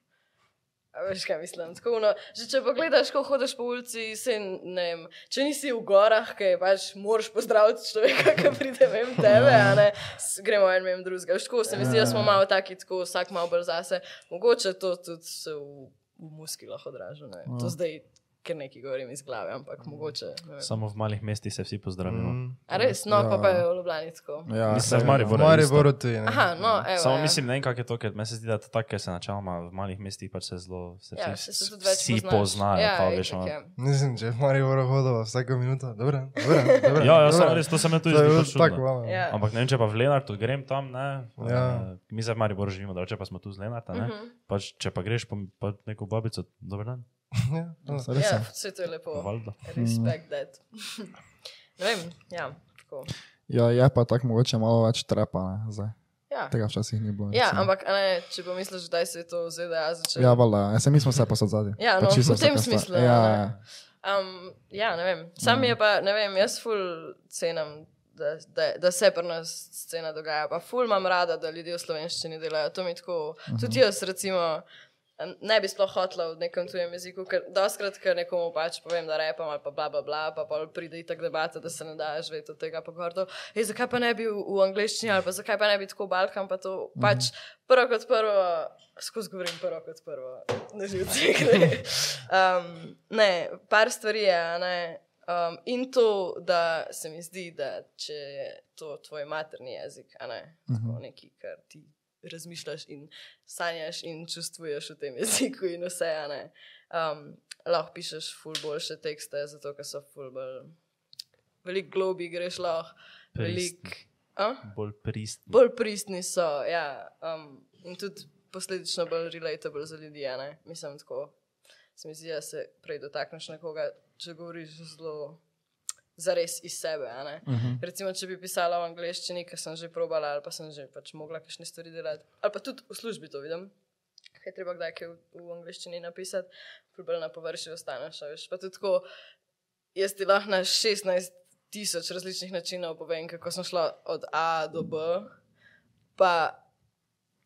Speaker 1: A veš, kaj mislim. Tako, no, že če pogledaš, ko hodiš po ulici, se ne vem, če nisi v gorah, ki pač moraš pozdraviti človeka, ki pride mem tebe, a ne s- gremo en mem drugega. Veš, Tako se mi zdi, da smo malo taki, tako vsak malo bolj zase. Mogoče to tudi se v, v muskilah odraža. ne vem. To
Speaker 3: Ja.
Speaker 1: zdaj, ker nekaj govorim iz glave, ampak mogoče. ne vem.
Speaker 2: Samo v malih mestih se vsi pozdravimo. Mm.
Speaker 4: Mm.
Speaker 1: A res, no, pa
Speaker 3: Ja.
Speaker 1: pa je v Ljubljani tako.
Speaker 3: Ja,
Speaker 2: Mislim,
Speaker 3: saj,
Speaker 2: v Mariboru.
Speaker 4: V
Speaker 2: Bora,
Speaker 4: Mariboru tudi. ne.
Speaker 1: Aha, no, evo.
Speaker 2: Samo
Speaker 1: ja.
Speaker 2: mislim, ne vem, kako je to, ker meni se zdi, da je to tako, ker se načeloma v malih mestih pač se zelo se
Speaker 1: Ja, se
Speaker 2: vsi,
Speaker 1: se tudi več
Speaker 2: vsi
Speaker 1: poznaš.
Speaker 2: poznajo.
Speaker 1: Ja,
Speaker 2: kao,
Speaker 1: itak
Speaker 2: veš, ono.
Speaker 1: je.
Speaker 4: Mislim, če je v Mariboru hodil vsako minuto, dobro, dobro, dobro.
Speaker 2: Ja, ja, samo res, to se mi
Speaker 4: To
Speaker 2: tudi
Speaker 4: je
Speaker 2: zdi.
Speaker 4: bilo
Speaker 2: pač čudno.
Speaker 4: tako, malo.
Speaker 1: Ja.
Speaker 2: Ampak ne vem, če pa v Lenartu grem tam, ne,
Speaker 4: Ja.
Speaker 2: ja. mi zdaj v Mariboru živimo, drugače pa smo tu z Lenarta. Ne,
Speaker 1: Mhm.
Speaker 2: pač, če pa greš po pa neko babico, dober dan,
Speaker 4: Ja, to.
Speaker 3: saj res je.
Speaker 1: Ja, vse to je lepo.
Speaker 2: valjda.
Speaker 1: Respekt that. ne vem, ja, tako.
Speaker 3: Ja, je pa tako mogoče malo več trepa, ne, zdaj.
Speaker 1: Ja.
Speaker 3: Tega včasih ni bilo.
Speaker 1: ja,
Speaker 3: recimo.
Speaker 1: ampak a ne, če pomisliš, kdaj se je to v ZDA začelo.
Speaker 3: Ja, valjda, ja, se mi smo se posod zadnji.
Speaker 1: Ja, no, v tem smislu,
Speaker 3: Ja,
Speaker 1: ne.
Speaker 3: ja.
Speaker 1: Um, ja, ne vem. Sam je pa, ne vem, jaz ful cenim, da, da, da se pri nas scena dogaja. Pa ful imam rada, da ljudje v slovenščini delajo. To mi tako,
Speaker 2: Mhm.
Speaker 1: tudi jaz recimo. Ne bi sploh hotla v nekem tujem jeziku, ker doskrat, ker nekomu pač povem, da repam ali pa bla bla bla, pa pol pride itak debata, da se ne da živeti od tega pa gordo. Ej, zakaj pa ne bi v, v angleščini ali pa zakaj pa ne bi tako Balkan, pa to pač prvo kot prvo, skozi govorim prvo kot prvo, ne živci. Um, ne, par stvari je. a Ne, um, in to, da se mi zdi, da če je to tvoj materni jezik, a ne
Speaker 3: Mhm.
Speaker 1: tako nekaj, kar ti razmišljaš in sanjaš in čustvuješ v tem jeziku, in vse, a ne. Um, lahko pišeš ful boljše tekste, zato ker so ful bolj. Veliko globi greš lahko,
Speaker 2: Pristni.
Speaker 1: veliko. a?
Speaker 2: Bolj pristni.
Speaker 1: bolj pristni so. Ja, um, in tudi posledično bolj relatable za ljudi. a ne. Mislim, tako se mi zdi, da se prej dotakneš nekoga, če govoriš zelo zares iz sebe. a ne.
Speaker 2: Mhm.
Speaker 3: Mhm.
Speaker 1: Recimo, če bi pisala v angleščini, ker sem že probala ali pa sem že pač mogla kakšne stvari delati, ali pa tudi v službi to vidim. Kaj je treba kdaj kaj v, v angleščini napisati, problem na površju ostaneš. a Veš. Pa tudi tako, jaz ti lahko na 16 tisoč različnih načinov povem, kako sem šla od A do B. Pa,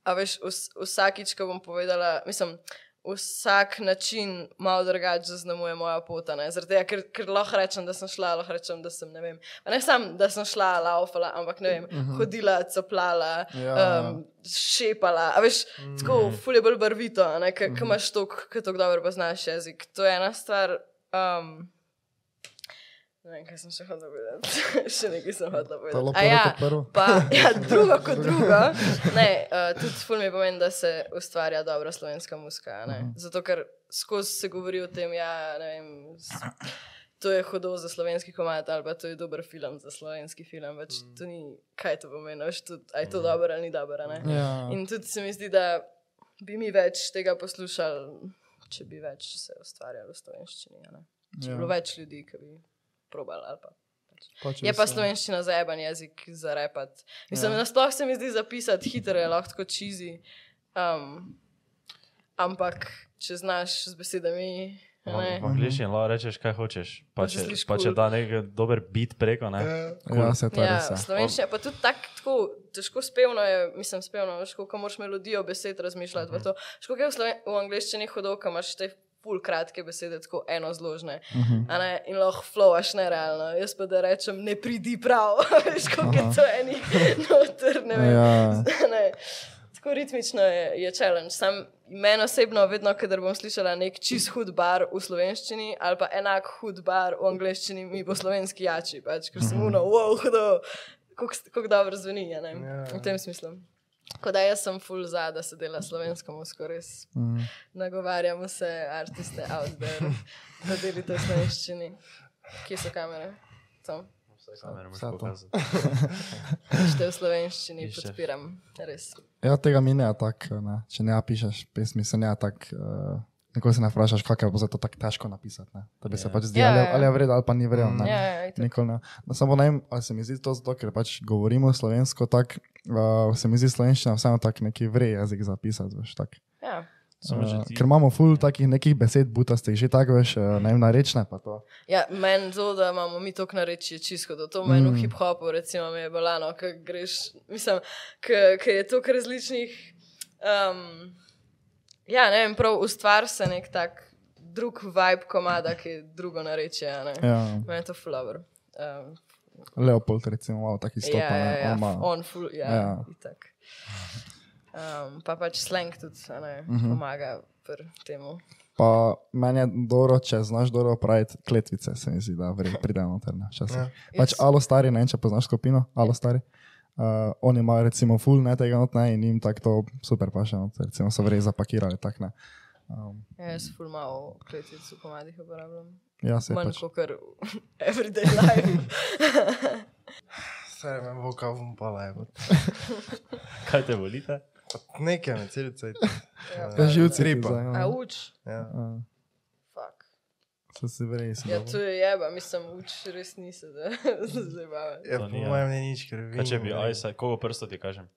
Speaker 1: a veš, vs, vsakič, ko bom povedala, mislim, vsak način malo drugače zaznamuje moja pot. a ne. Zaradi tega, ker, ker lahko rečem, da sem šla, lahko rečem, da sem ne vem. Pa ne samo, da sem šla, laufala, ampak ne vem,
Speaker 3: Mhm.
Speaker 1: hodila, coplala,
Speaker 3: Ja. Mm.
Speaker 1: um, šepala. A veš, tako fulje bolj barvito, a ne, ker
Speaker 3: Mhm.
Speaker 1: ker imaš to, ki tako dobro poznaš jezik. To je ena stvar. Um, ne vem, kaj sem še hodila povedati. še nekaj sem hodila
Speaker 3: To je bilo
Speaker 1: povedati. A
Speaker 3: prvo
Speaker 1: ja,
Speaker 3: kot prvo.
Speaker 1: pa ja, drugo kot drugo. Ne, uh, tudi ful mi pomeni, da se ustvarja dobra slovenska muska. a ne. Zato, ker skozi se govori o tem, ja, ne vem. s- To je hudo za slovenski komat, ali pa to je dober film za slovenski film. Več to ni, kaj to pomeni, veš, tudi, a je to dobro ali ni dobro. a ne.
Speaker 3: Ja.
Speaker 1: In tudi se mi zdi, da bi mi več tega poslušali, če bi več se ustvarjalo v slovenščini. a Ne? Če
Speaker 3: Ja.
Speaker 1: bi bilo več ljudi, ki bi probali. ali Pa. Je pa slovenščina zaeben jezik za repat. Mislim,
Speaker 3: Ja.
Speaker 1: ja. nasploh se mi zdi zapisati hitro, je lahko tako čizi. Um, ampak če znaš z besedami. a ne,
Speaker 4: Mhm.
Speaker 2: V angliščini lahko rečeš, kaj hočeš. Pa
Speaker 1: Pa se
Speaker 2: če,
Speaker 1: sliši
Speaker 2: pa če
Speaker 1: kul.
Speaker 2: da nek dober bit preko, ne.
Speaker 4: Ja.
Speaker 3: Ja, se to je
Speaker 1: Ja,
Speaker 3: res. ja.
Speaker 1: slovenščina, pa tudi tak, tako težko spevno je, mislim, spevno, veš, kako moraš melodijo besed razmišljati.
Speaker 3: Mhm.
Speaker 1: Uh -huh. Škoda je v, sloven- v angleščini hodov, kam imaš te pol kratke besede, tako eno zložne.
Speaker 3: Mhm.
Speaker 1: a Ne, in lahko flowaš nerealno. Jaz pa da rečem, ne pridi prav, a veš, kako je
Speaker 3: Aha.
Speaker 1: to eni noter, ne vem.
Speaker 3: Ja.
Speaker 1: ne. Tako Tako ritmično je, je challenge. Sam meni osebno, vedno, kadar bom slišala nek čist hud bar v slovenščini ali pa enak hud bar v angleščini, mi bo slovenski jači, pač, ker sem uno, wow, hudo, kako dobro zveni. a ne.
Speaker 4: Ja.
Speaker 1: V tem smislu. Tako da jaz sem full za, da se dela slovensko musko, res
Speaker 3: Mm.
Speaker 1: nagovarjamo se, artiste out there, da delite v slovenščini. Kje so kamere? Tam.
Speaker 3: Vse to.
Speaker 1: Šte v slovenščini
Speaker 2: Išče.
Speaker 1: podpiram, res.
Speaker 3: Ja, tega mi ne tako, ne. če ne pišeš pesmi, se ne tako. Uh, Nikoli se ne vprašaš, kako je bilo to tako težko napisati. Ne? Da bi se
Speaker 2: Ja.
Speaker 3: pač zdelo,
Speaker 1: Ja,
Speaker 3: ali,
Speaker 1: ja.
Speaker 3: ali je vredno, ali pa ni
Speaker 2: Mm.
Speaker 3: vredno.
Speaker 1: Ja, ja, itak.
Speaker 3: Nikoli ne. No, samo ne vem, ali se mi zdi to zato, ker pač govorimo slovensko, tako uh, se mi zdi slovenščina vseeno tako neki vre jezik zapisati. Veš, tak.
Speaker 1: ja.
Speaker 3: uh,
Speaker 4: Eh,
Speaker 3: ker imamo full takih nekih besed, butastih, že tako veš, uh, ne vem, narečne pa to.
Speaker 1: ja meni zelo, da imamo mi to, kar reči, je čisto. To meni
Speaker 3: Mm.
Speaker 1: v hip-hopu, recimo, mi je balano, ker greš, mislim, ker je toliko različnih. Um, ja, ne vem, prav ustvar se nek tak drug vibe komada, ki drugo nareče. a ne.
Speaker 3: Ja.
Speaker 1: Meni je to flower. Um,
Speaker 3: Leopold, recimo, malo tako izstopa.
Speaker 1: ja, ja,
Speaker 3: ne,
Speaker 1: ja,
Speaker 3: on ima-
Speaker 1: on ful, ja, ja.
Speaker 3: Ja.
Speaker 1: itak. Um, pa pač slang tudi a ne, uh
Speaker 3: Mhm.
Speaker 1: -huh. pomaga pri temu.
Speaker 3: Pa meni je dobro, če znaš dobro opraviti kletvice, se mi zdi, da vre- pridemo noter. ne, včasih.
Speaker 4: Ja.
Speaker 3: Pač
Speaker 1: Jaz-
Speaker 3: alo stari, ne vem, če poznaš skupino, alo stari. Uh, oni imajo recimo full ne tega not, ne, in jim tako to super paše, not, recimo so res zapakirali tak ne. Um,
Speaker 1: Ja, jaz ful malo kletic v komadih uporabljam.
Speaker 3: ja, se
Speaker 1: Manj
Speaker 3: pač.
Speaker 1: kot kar everyday life.
Speaker 4: Saj me voka bom pa levo.
Speaker 2: Kaj te volite?
Speaker 4: Nekaj me celica.
Speaker 1: ja,
Speaker 4: Ja,
Speaker 1: pa-
Speaker 3: Živci
Speaker 4: Tripa.
Speaker 3: zdaj, no.
Speaker 1: A uč.
Speaker 4: Ja.
Speaker 3: Ja,
Speaker 1: Fuck.
Speaker 3: So si vrej, si
Speaker 1: Ja, to je jeba, mislim, uč res nisem, da se zabava.
Speaker 4: Ja,
Speaker 2: To
Speaker 4: po
Speaker 2: ni, ja.
Speaker 4: mojem ni nič, ker vi.
Speaker 2: Kaj če bi, aj, saj, koliko prstov ti kažem?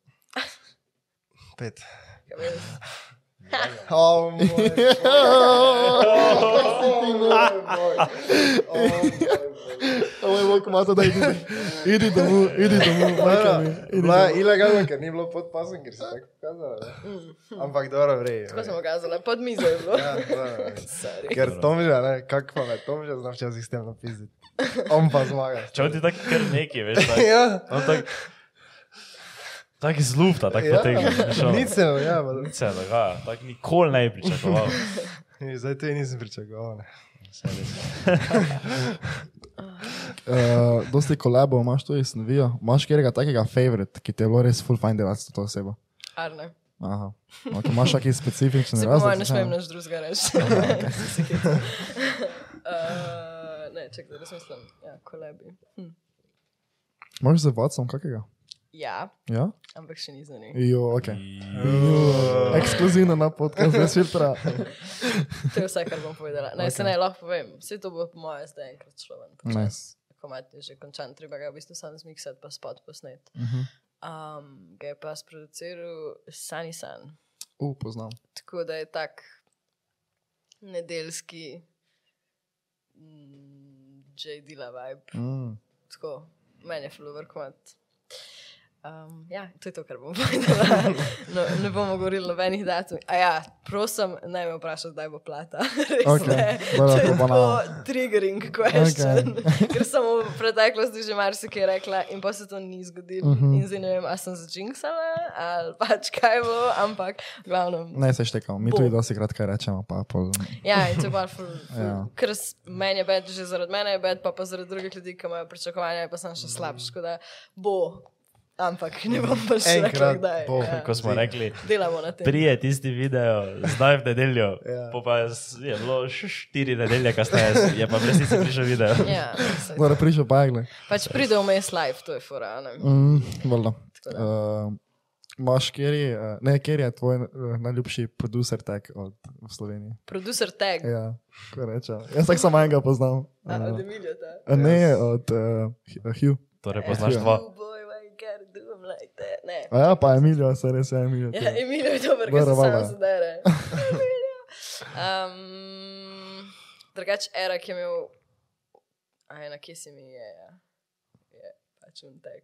Speaker 4: Pet.
Speaker 1: Ja,
Speaker 2: Oh,
Speaker 3: Ovo je bok mato, da idi, idi domov, idi domov,
Speaker 4: No,
Speaker 3: majka mi, idi
Speaker 4: Bila
Speaker 3: domov.
Speaker 4: je ilegalna, ker ni bilo pod pasom, ker si tako pokazala. ne. Ampak dobro, vrej.
Speaker 1: Tako sem pokazala, pod mizo je bilo.
Speaker 4: Ja, dobro, vrej.
Speaker 1: Sorry.
Speaker 4: Ker Tomža, ne, kako pa me Tomža zna včasih s tem napisati. On pa zmaga.
Speaker 2: Če on ti tako kar neki, veš, tako,
Speaker 4: Ja,
Speaker 2: on tak, tak iz lufta, tako
Speaker 4: ja.
Speaker 2: potegne. veš, ono.
Speaker 4: Nič se ne, ja, pa
Speaker 2: Nič se ne dogaja, tako nikoli ne bi pričakoval.
Speaker 4: Ej, Zdaj tudi nisem pričakoval. ne.
Speaker 2: Saj res.
Speaker 3: Uh, dosti kolabov imaš tudi s novijo. Imaš katerega takega favorite, ki ti je bilo res full fajn delati s to osebo?
Speaker 1: Arne.
Speaker 3: Aha. Okay, imaš kakšen specifičen
Speaker 1: Se po mojem
Speaker 3: razlog?
Speaker 1: ne
Speaker 3: za
Speaker 1: smem
Speaker 3: to?
Speaker 1: nič drugega reči. Se si hecam. Eh, Ne, čekaj, da razmislim. Ja, kolebi. Hm.
Speaker 3: Možeš z vodcem kakega?
Speaker 1: Ja,
Speaker 3: Ja?
Speaker 1: ampak še ni za njim.
Speaker 3: Jo, ok.
Speaker 4: Juuu.
Speaker 3: Ekskluzivno na podkastu brez filtra.
Speaker 1: To je vse, kar bom povedala. Naj se
Speaker 3: Okej.
Speaker 1: naj lahko povem. Vse to bo po mojem zdaj enkrat šlo ven.
Speaker 3: Nice.
Speaker 1: Komat je že končan, treba ga v bistvu sam zmiksati, pa spod posnet.
Speaker 3: Mhm.
Speaker 1: Um, ga je pa sproduciral Sani San.
Speaker 3: U, poznam.
Speaker 1: Tako da je tak nedeljski mm, J. Dila vibe.
Speaker 3: Mm.
Speaker 1: tako, meni je flower komat. Um, ja, to je to, kar bom povedala. No, ne bomo govorili nobenih datumov. A ja, prosim, naj me vprašaš, kdaj bo plata. Res
Speaker 3: Okej,
Speaker 1: ne. to
Speaker 3: dobro,
Speaker 1: je
Speaker 3: to bo
Speaker 1: tako
Speaker 3: na-
Speaker 1: triggering question. Okay. Ker sem v preteklosti že marsikaj rekla in pa se to ni zgodilo. Uh
Speaker 3: Mhm.
Speaker 1: -huh. In zdaj ne vem, ali sem zažinksala ali pač kaj bo, ampak glavno.
Speaker 3: Ne se štekam, mi
Speaker 1: Bo.
Speaker 3: tudi dosti kratka rečemo, pa pol.
Speaker 1: Ja, in to je bolj ful.
Speaker 3: Ja.
Speaker 1: Ja. Ker s- meni je bed, že zaradi mene je bed, pa, pa zaradi drugih ljudi, ki imajo pričakovanja, je pa sem še slabš. Tako da bo, ampak ne bom pa še rekla,
Speaker 4: Enkrat
Speaker 1: kdaj.
Speaker 4: bo,
Speaker 1: ja.
Speaker 2: Ko smo rekli,
Speaker 1: Delamo na tem.
Speaker 2: trije tisti video, zdaj v nedeljo,
Speaker 4: Ja.
Speaker 2: po pa je s- je bilo še štiri nedelje kasneje, je pa v resnici prišel video.
Speaker 1: Ja, saj.
Speaker 3: Zdaj prišel bagle.
Speaker 1: pač pride vmes live, to je fura. a ne.
Speaker 3: Mm, valjda.
Speaker 1: Tako da.
Speaker 3: Uh, Maš, kjer je, eh, ne, kjer je tvoj eh, najljubši producer tek od v Sloveniji?
Speaker 1: Producer tag, ja.
Speaker 3: Ja, ko rečem. Jaz tak samo enega poznam.
Speaker 1: od
Speaker 3: Uh,
Speaker 1: Emilija. ta.
Speaker 3: ne, od uh, Hugh.
Speaker 2: Torej poznaš
Speaker 3: Ja.
Speaker 2: dva.
Speaker 1: Oh boy, why you gotta do 'em like that? Ne.
Speaker 3: A ja, pa Emilio, se res je Emilio.
Speaker 1: Ja, Emilio je dober, ker
Speaker 3: Dobro,
Speaker 1: se
Speaker 3: valjda.
Speaker 1: sam zdere. Um, drugač, era, ki je imel, a ena, ki se mi je, ja. je pač un tek.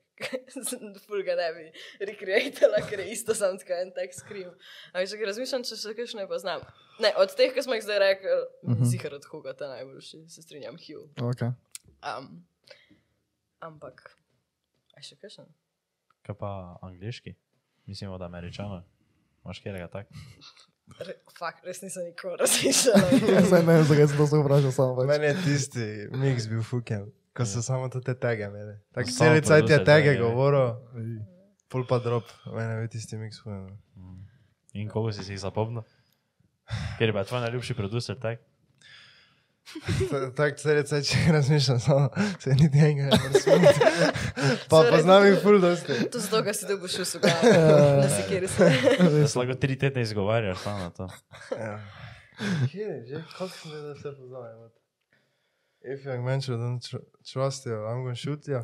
Speaker 1: Fulga ne bi rekreatala, ker je isto sam tako en tek skrim. Ampak če razmišljam, če še kakšne poznam. Ne, od teh, ki smo jih zdaj rekli, uh
Speaker 3: Mhm.
Speaker 1: -huh. zihar od koga ta najboljši, se strinjam, Hugh.
Speaker 3: Okay.
Speaker 1: Um, ampak, a še kakšen?
Speaker 2: Kaj pa angliški? Mislimo, da američano. Imaš kjerega tak?
Speaker 1: Re, fak, res nisem nikoli razmišljala.
Speaker 3: Jaz Ja, ne vem, zakaj sem to se vprašal, samo pač.
Speaker 4: Meni je tisti miks bil fuken, ko so samo te te tege imeli. Tako
Speaker 2: Samo
Speaker 4: celi cajt je
Speaker 2: producer
Speaker 4: tege
Speaker 2: tege, ne.
Speaker 4: govoril, pol pa drop. Meni je bil tisti miks no. fuken.
Speaker 2: Mm. In koliko si si jih zapomnil? Ker je pa tvoj najljubši producer, tak?
Speaker 4: Tako celi cajt še razmišljam, samo se niti enega ne razumem. Pa poznam jih ful dosti.
Speaker 1: To zato, ker si dobil šus v glavi.
Speaker 3: Ja.
Speaker 1: Ne si kjer se.
Speaker 2: Da se lahko tri tedne izgovarjaš samo na to.
Speaker 4: Ja. Kje je že? Kako sem vedel, da se poznam? If young man should don't tr trust you, I'm gonna shoot you.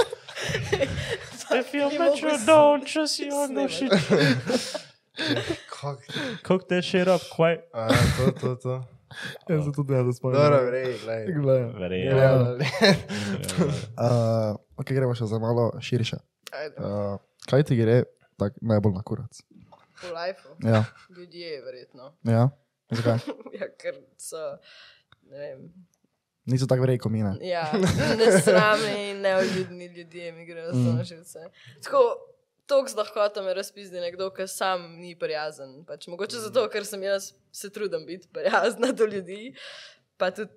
Speaker 4: Ja.
Speaker 2: If you
Speaker 1: Ni bet you mogel
Speaker 2: don't trust
Speaker 1: you, I'm gonna snemati.
Speaker 4: Kak?
Speaker 2: Cook that shit up quite.
Speaker 4: A, ja, to, to, to.
Speaker 3: Jaz sem tudi jaz spomnil.
Speaker 4: Dobro, vrej, gledaj.
Speaker 3: ja Glej.
Speaker 2: Verjetno.
Speaker 4: Ja,
Speaker 3: Uh, ok, gremo še za malo širše. Uh, kaj ti gre tak, najbolj na kurac?
Speaker 1: V lifeu.
Speaker 3: Ja,
Speaker 1: Ljudje, verjetno.
Speaker 3: ja. Zakaj?
Speaker 1: Ja, ker so. Ne vem.
Speaker 3: Niso tako verjeli, kot mine.
Speaker 1: Ja, nesramni in neuljudni ljudje mi grejo za mm. živce. Tako, tok z lahkoto me razpizdi nekdo, ki sam ni prijazen. Pač, mogoče zato, ker sem jaz se trudim biti prijazna do ljudi. Pa tudi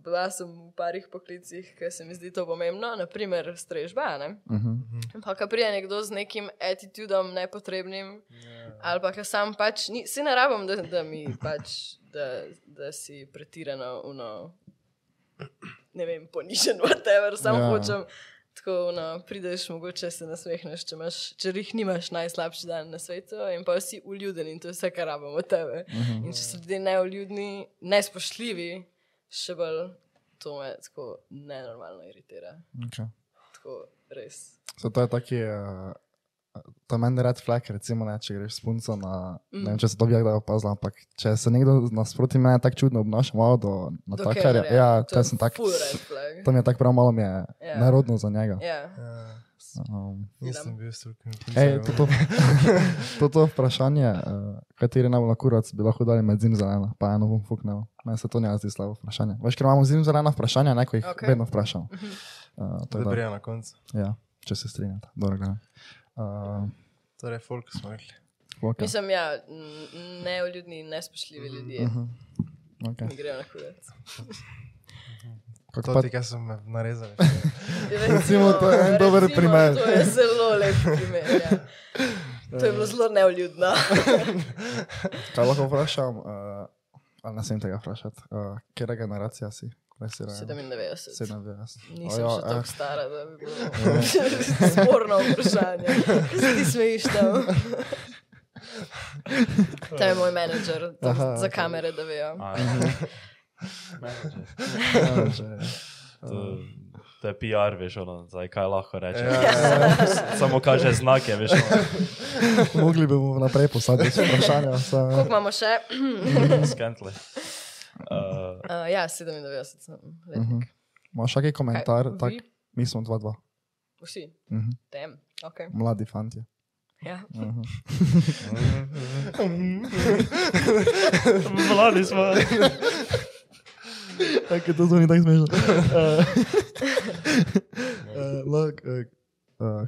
Speaker 1: bila sem v parih poklicih, ker se mi zdi to pomembno, naprimer strežba. Ne?
Speaker 3: Uh -huh.
Speaker 1: Pa, ko pride nekdo z nekim attitudom nepotrebnim, ali pa, ki sam pač ni, si ne rabim, da, da mi pač, da, da si pretirano, uno, ne vem, ponižen, whatever, samo
Speaker 3: Ja.
Speaker 1: ja. hočem. Tako, no, prideš, mogoče se nasmehneš, če, imaš, če jih nimaš najslabši dan na svetu, in pa si uljuden in to je vse, kar rabimo od tebe.
Speaker 3: Mhm.
Speaker 1: In če so ljudje neuljudni, nespoštljivi, še bolj to me tako nenormalno iritira.
Speaker 3: okay.
Speaker 1: Tako res.
Speaker 3: So to je taki, uh, to je meni red flag, recimo, ne, če greš s punco na, mm. ne vem, če se to bi kdaj opazila, ampak če se nekdo nasproti mene tako čudno obnaša, malo do natakarja,
Speaker 1: Kernerja.
Speaker 3: ja,
Speaker 1: je
Speaker 3: to sem tak,
Speaker 1: Full red flag.
Speaker 3: to mi je tako prav malo mi je
Speaker 1: Ja.
Speaker 3: yeah. nerodno za njega.
Speaker 1: Ja.
Speaker 4: ja.
Speaker 3: Um,
Speaker 4: Nisem bil struken.
Speaker 3: Ej, to, to, to, to vprašanje, uh, kateri najbolj na kurac bi lahko dali med zim zelena, pa eno bom fuknil. Meni se to ne zdi slabo vprašanje. Veš, ker imamo zim zelena vprašanja, neko jih
Speaker 1: Ok.
Speaker 3: okay. vedno vprašam.
Speaker 1: Mhm.
Speaker 3: Uh, to je dobro.
Speaker 4: Dobrija na koncu.
Speaker 3: Ja, če se strinjate. Dobro, Eh, gledam. Uh,
Speaker 4: Torej, folk smo rekli.
Speaker 3: okay.
Speaker 1: Mislim, ja, n- neuljudni in nespoštljivi ljudje
Speaker 3: Mhm. okay.
Speaker 1: mi grejo na kurac.
Speaker 3: Kako
Speaker 4: To
Speaker 3: pa
Speaker 4: ti, kaj so me narezali. Ja.
Speaker 3: Recimo, to je en dober
Speaker 1: recimo,
Speaker 3: primer.
Speaker 1: To je zelo lep primer. Ja. To je bilo zelo neuljudno.
Speaker 3: Kaj lahko vprašam, uh, ali ne smem tega vprašati, uh, katera generacija si? Kaj si rajen?
Speaker 1: 97.
Speaker 3: 97.
Speaker 1: Nisem
Speaker 3: Ja. Ojo,
Speaker 1: še tako
Speaker 3: eh, Ja.
Speaker 1: stara, da bi bilo sporno vprašanje. Kaj se ti smejiš tam? To je moj menedžer, tam
Speaker 3: Aha,
Speaker 1: za
Speaker 3: ok.
Speaker 1: kamere, da vejo.
Speaker 3: ja, že.
Speaker 2: To, to je PR, veš, ono, zdaj kaj lahko rečeš.
Speaker 4: Ja, ja,
Speaker 2: Samo kaže znake, veš. ono.
Speaker 3: Eh, Mogli bi mu naprej poslati vprašanja.
Speaker 1: Koliko
Speaker 3: Sa,
Speaker 1: imamo še?
Speaker 2: Skentle. Uh,
Speaker 1: Uh, ja, 97 sem letnik.
Speaker 3: imaš kakšen
Speaker 1: Kaj,
Speaker 3: komentar?
Speaker 1: vi?
Speaker 3: Tak, mi smo 2-2,
Speaker 1: Vsi,
Speaker 3: Mhm.
Speaker 1: tem, ok.
Speaker 3: mladi fanti.
Speaker 1: Ja.
Speaker 2: Mladi smo.
Speaker 3: Tako je to zveni tako smešno. Eh, eh, lahko, eh, eh,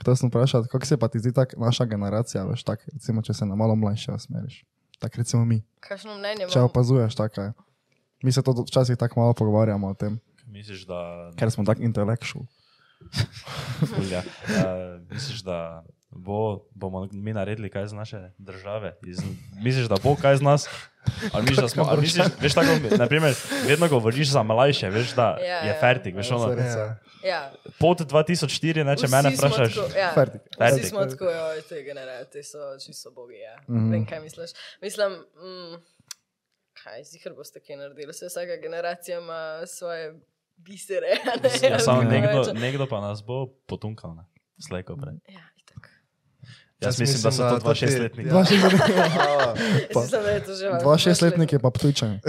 Speaker 3: Hotel sem vprašati, kako se pa ti zdi tak naša generacija, veš, tak, recimo, če se na malo mlajše osmeriš. Tako recimo mi.
Speaker 1: Kakšno mnenje
Speaker 3: Če
Speaker 1: imamo?
Speaker 3: opazuješ, tako je. Mi se to do- včasih tako malo pogovarjamo o tem,
Speaker 2: Misliš, da
Speaker 3: ker smo tako intelektualni.
Speaker 2: Fulja. Uh, misliš, da bo, bomo mi naredili kaj iz naše države? Iz, misliš, da bo kaj iz nas? Ali misliš, da smo, ali misliš, veš, tako, naprimer, vedno govoriš za mlajše, veš, da
Speaker 1: Ja,
Speaker 2: je
Speaker 1: ja.
Speaker 2: fertik. Veš, ono,
Speaker 4: ja.
Speaker 1: Ja.
Speaker 2: pod 2004, ne, Ja, če
Speaker 1: Vsi
Speaker 2: mene
Speaker 1: smo
Speaker 2: vprašaš.
Speaker 1: tako, ja.
Speaker 3: Fertik.
Speaker 1: Vsi
Speaker 2: Fertik.
Speaker 1: smo tako, oj, te generacije so čisto bogi. Ja.
Speaker 3: Mhm.
Speaker 1: Mm. Vem, kaj misliš. Mislim, mm, kaj zihar boste kaj naredili. Vse vsaka generacija ima svoje bisere. a ne,
Speaker 2: Ja,
Speaker 1: ali
Speaker 2: samo
Speaker 1: kako
Speaker 2: nekdo,
Speaker 1: reče.
Speaker 2: nekdo pa nas bo potunkal. Ne. Slej, ko prej.
Speaker 1: Ja, itak.
Speaker 2: Jaz mislim, da so to dva šestletnika.
Speaker 4: Ja.
Speaker 1: Jaz mislim, da je to že malo.
Speaker 3: Dva šestletnik je pa ptučen.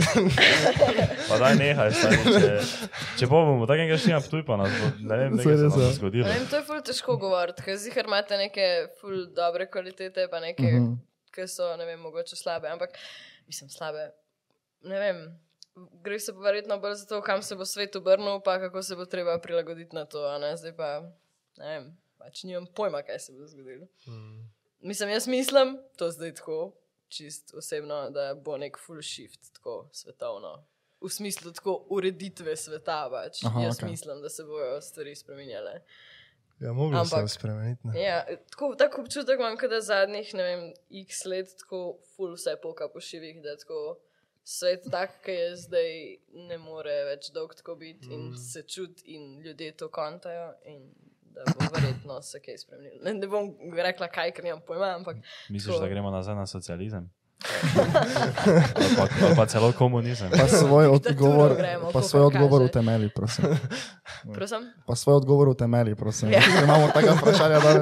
Speaker 2: Pa daj nehaj, stari, če, če bo bomo tako enega štima, tuj pa nas bo, ne vem, nekaj se
Speaker 3: Seveda,
Speaker 2: nam bo
Speaker 3: seveda.
Speaker 2: zgodilo.
Speaker 1: Ne vem, to je ful težko govoriti, ker zihar imate neke ful dobre kvalitete, pa neke, mm
Speaker 3: Mhm.
Speaker 1: -hmm. ki so, ne vem, mogoče slabe, ampak mislim slabe. Ne vem, gre se pa verjetno bolj za to, kam se bo svet obrnil, pa kako se bo treba prilagoditi na to, a ne zdaj pa, ne vem. pač nimam pojma, kaj se bo zgodilo.
Speaker 4: Mm.
Speaker 1: Mislim, jaz mislim, to zdaj tako, čist osebno, da bo nek full shift, tako svetovno. V smislu tako ureditve sveta, pač.
Speaker 3: Aha,
Speaker 1: Aha, jaz
Speaker 3: okej.
Speaker 1: okay. mislim, da se bodo stvari spremenjale.
Speaker 4: Ja, moglo se je
Speaker 1: Ampak-
Speaker 4: spremeniti. ne.
Speaker 1: Ja, tako, tako občutek imam, kot da zadnjih, ne vem, x let tako full vse poka po šivih, da tako svet tak, ki je zdaj, ne more več dolg tako biti in
Speaker 4: Mm.
Speaker 1: mm. se čut in ljudje to kontajo in da bo verjetno se kaj spremenilo. Ne, ne bom rekla kaj, ker nimam pojma, ampak
Speaker 2: Misliš,
Speaker 1: Tako.
Speaker 2: da gremo nazaj na socializem? ali, pa, ali pa celo komunizem?
Speaker 3: Pa svoj
Speaker 1: diktaturo
Speaker 3: odgovor,
Speaker 1: gremo,
Speaker 3: pa
Speaker 1: kakor
Speaker 3: svoj odgovor
Speaker 1: kaže.
Speaker 3: utemeli, prosim.
Speaker 2: Mm.
Speaker 1: prosim.
Speaker 3: Pa svoj odgovor utemeli, prosim.
Speaker 1: Ja.
Speaker 3: Ker Imamo taka vprašanja, da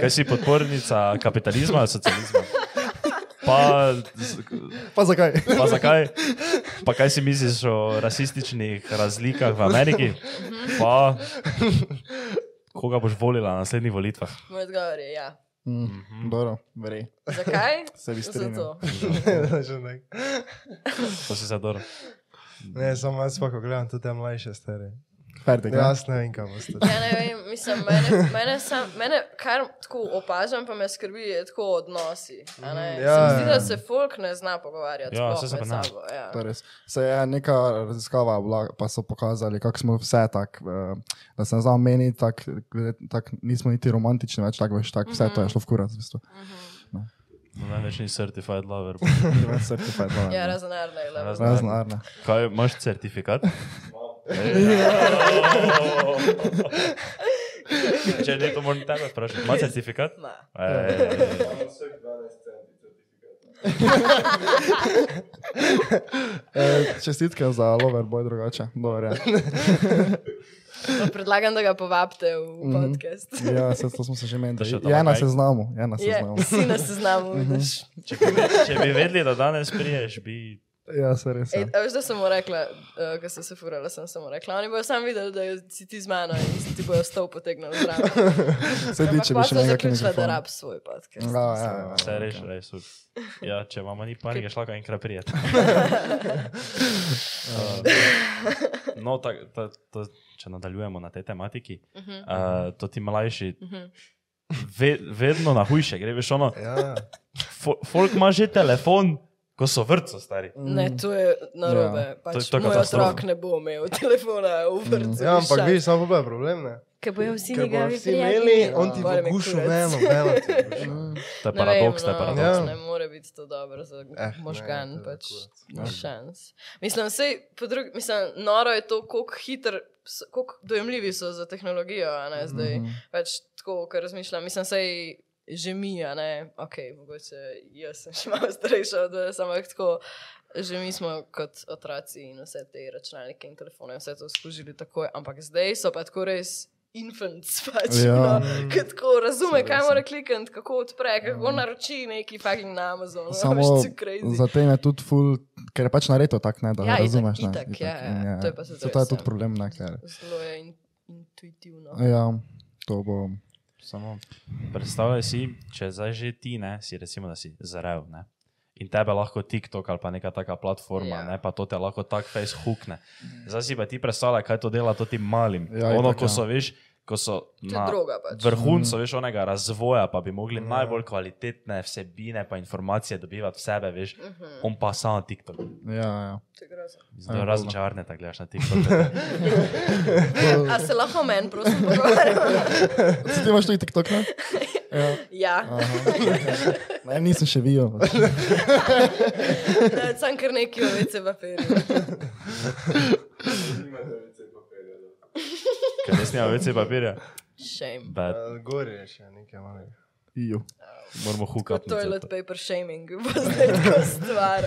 Speaker 2: Kaj si podpornica kapitalizma ali socializma? Pa, z-
Speaker 3: pa zakaj?
Speaker 2: pa zakaj? Pa kaj si misliš o rasističnih razlikah v Ameriki? Pa koga boš volila na naslednjih volitvah?
Speaker 1: Moj odgovor je ja.
Speaker 3: Mm, dobro, verjej.
Speaker 1: Zakaj?
Speaker 3: Se bi strinjal.
Speaker 1: Zato. Eh.
Speaker 4: Že ne.
Speaker 2: To si zador.
Speaker 4: Ne, samo jaz pa, ko gledam tudi te mlajše stare.
Speaker 3: Fertik, ja.
Speaker 4: Jaz ne vem, kam boste.
Speaker 1: Ja, ne vem, mislim, mene, mene, sam, mene kar tako opažam, pa me skrbi, je tako odnosi. a Ne?
Speaker 4: Mhm,
Speaker 1: Mm,
Speaker 4: ja,
Speaker 1: ja, se mi zdi,
Speaker 4: ja.
Speaker 1: da se folk ne zna pogovarjati.
Speaker 2: Ja,
Speaker 1: sploh
Speaker 2: saj se
Speaker 1: med
Speaker 2: pa ne.
Speaker 1: sabo, ja.
Speaker 3: To je res. Se je neka raziskava bila, pa so pokazali, kako smo vse tako, eh, da se ne znamo meniti, tako, glede- tako nismo niti romantični več, tako veš, tak, vse
Speaker 1: Mhm.
Speaker 3: to je šlo v kurac. V bistvu.
Speaker 2: No, Največ ni certified lover.
Speaker 1: Ja, razen Arne je lepo.
Speaker 2: Razen-
Speaker 3: Razna arna.
Speaker 2: Kaj, imaš certifikat?
Speaker 1: ja.
Speaker 2: Če ne, to moram tako vprašati. Imaš certifikat?
Speaker 1: Ma.
Speaker 2: Ej.
Speaker 3: E, čestitke za lover boj drugače. Dobar, ja.
Speaker 1: Pa no, Predlagam, da ga povabite v
Speaker 3: Mhm.
Speaker 1: podcast.
Speaker 3: ja, se, to smo se že
Speaker 2: To še
Speaker 3: menili.
Speaker 2: tam
Speaker 3: Je na
Speaker 2: kaj?
Speaker 3: seznamu, je na
Speaker 1: Je,
Speaker 3: seznamu.
Speaker 1: vsi na seznamu
Speaker 4: Mhm.
Speaker 1: vidiš.
Speaker 2: Če bi, ve- če bi vedeli, da danes priješ, bi.
Speaker 3: Ja, se res.
Speaker 1: Ej, a
Speaker 3: Ja.
Speaker 1: veš, da sem mu rekla, uh, ko sem se furala, sem samo rekla. Oni bojo sam videli, da je- si ti z mano in ti bojo stol potegnil zraven.
Speaker 3: Se
Speaker 1: Ampak
Speaker 3: tiče, bi
Speaker 1: pol
Speaker 3: še
Speaker 1: sem
Speaker 3: nekaj
Speaker 1: zaključila, da rab svoj podcast.
Speaker 3: Ja, ja, ja.
Speaker 2: Vse reš, reš. Ja, če imamo ni panike, šla ga enkrat prijet. No, tak, ta, to, če nadaljujemo na tej tematiki,
Speaker 1: Mhm.
Speaker 2: uh, to ti mlajši
Speaker 1: Mhm.
Speaker 2: ve, vedno na hujše gre, veš, ono,
Speaker 4: Ja,
Speaker 2: fo, folk ima že telefon, ko so vrtco stari.
Speaker 4: Mm.
Speaker 1: Ne, to je narobe. Ja. Pač
Speaker 2: To je- to je
Speaker 1: moj
Speaker 2: katastrofa.
Speaker 1: otrok ne bo imel telefona v vrtu.
Speaker 4: ja ampak vidiš, samo pa je problem. Ne?
Speaker 1: Ker bojo vsi
Speaker 4: Ker bojo
Speaker 1: njegovi
Speaker 4: vsi imeli,
Speaker 1: prijatelji.
Speaker 4: on ti
Speaker 1: Bore
Speaker 4: bo
Speaker 1: me
Speaker 4: gušil
Speaker 1: kurac.
Speaker 4: meno, meno. ti bo gušil.
Speaker 3: Mm,
Speaker 2: To je
Speaker 1: Ne vem,
Speaker 2: paradoks, to je
Speaker 1: no,
Speaker 2: paradoks.
Speaker 4: Ja.
Speaker 1: Ne more biti to dobro za
Speaker 4: Eh,
Speaker 1: eh,
Speaker 4: ne,
Speaker 1: možgan,
Speaker 4: to
Speaker 1: ne,
Speaker 4: je
Speaker 1: pač
Speaker 4: kurac.
Speaker 1: ni šans. Mislim, sej, po drugi, mislim, noro je to, koliko hiter, s- koliko dojemljivi so za tehnologijo, a ne zdaj.
Speaker 3: Mhm.
Speaker 1: Mm -hmm. Pač tako, kar razmišljam, mislim, sej. Že mi, a ne, ok, mogoče jaz sem še malo starejša od vas, ampak tako, že mi smo kot otroci in vse te računalnike in telefone, vse to služili takoj, ampak zdaj so pa tako res infants, pač,
Speaker 3: Ja.
Speaker 1: no,
Speaker 4: Mm.
Speaker 1: ki tako razume,
Speaker 3: Seveda,
Speaker 1: kaj
Speaker 3: sem. Ja.
Speaker 1: mora klikniti, kako odpre, kako naroči neki fucking na Amazonu.
Speaker 3: Samo
Speaker 1: veš, ti crazy.
Speaker 3: mm. Zato je tudi ful, ker je pač narejeno tako, ne, da
Speaker 1: Ja,
Speaker 3: ne
Speaker 1: itak,
Speaker 3: razumeš. ne,
Speaker 1: itak, ja,
Speaker 3: itak, in
Speaker 1: ja, to je pa
Speaker 3: Saj
Speaker 1: sedaj
Speaker 3: to je
Speaker 1: vse. No.
Speaker 3: tudi problem, ne, ker.
Speaker 1: Zelo je in, intuitivno.
Speaker 3: Ja, to bo.
Speaker 2: Samo predstavljaj si, če zdaj že ti, ne, si recimo, da si zrel. Ne, in tebe lahko TikTok ali pa neka taka platforma,
Speaker 1: Ja.
Speaker 2: yeah. ne, pa to te lahko tako face hukne. Zdaj si pa ti predstavljaj, kaj to dela to tim malim.
Speaker 3: Ja,
Speaker 2: Ja, ono,
Speaker 3: itak,
Speaker 2: ko
Speaker 3: ja.
Speaker 2: so, veš, ko so
Speaker 1: To je
Speaker 2: na
Speaker 1: droga pač.
Speaker 2: vrhuncu, veš, onega razvoja, pa bi mogli
Speaker 4: Ja.
Speaker 2: yeah. najbolj kvalitetne vsebine pa informacije dobivati v sebe, veš,
Speaker 1: Mhm,
Speaker 2: on pa samo TikTok.
Speaker 3: Ja, ja.
Speaker 1: to je grozno.
Speaker 2: Zelo
Speaker 3: Ja,
Speaker 2: razen
Speaker 3: bolno.
Speaker 2: čarne, tako gledaš na TikTok.
Speaker 1: A se lahko meni, prosim, pogovarjamo?
Speaker 3: Si ti imaš tudi TikTok, ne? Ja.
Speaker 1: Ja,
Speaker 3: Aha. Ne, nisem še videl. pač.
Speaker 1: ne, sem kar neki ovece papirje.
Speaker 2: Ker res nima več papirja.
Speaker 1: Shame.
Speaker 2: Bad.
Speaker 4: Ja, Gor je še nekaj malega.
Speaker 3: Iju.
Speaker 2: Moramo
Speaker 1: Kot
Speaker 2: hukati.
Speaker 1: toilet paper shaming, bo zdaj tako stvar.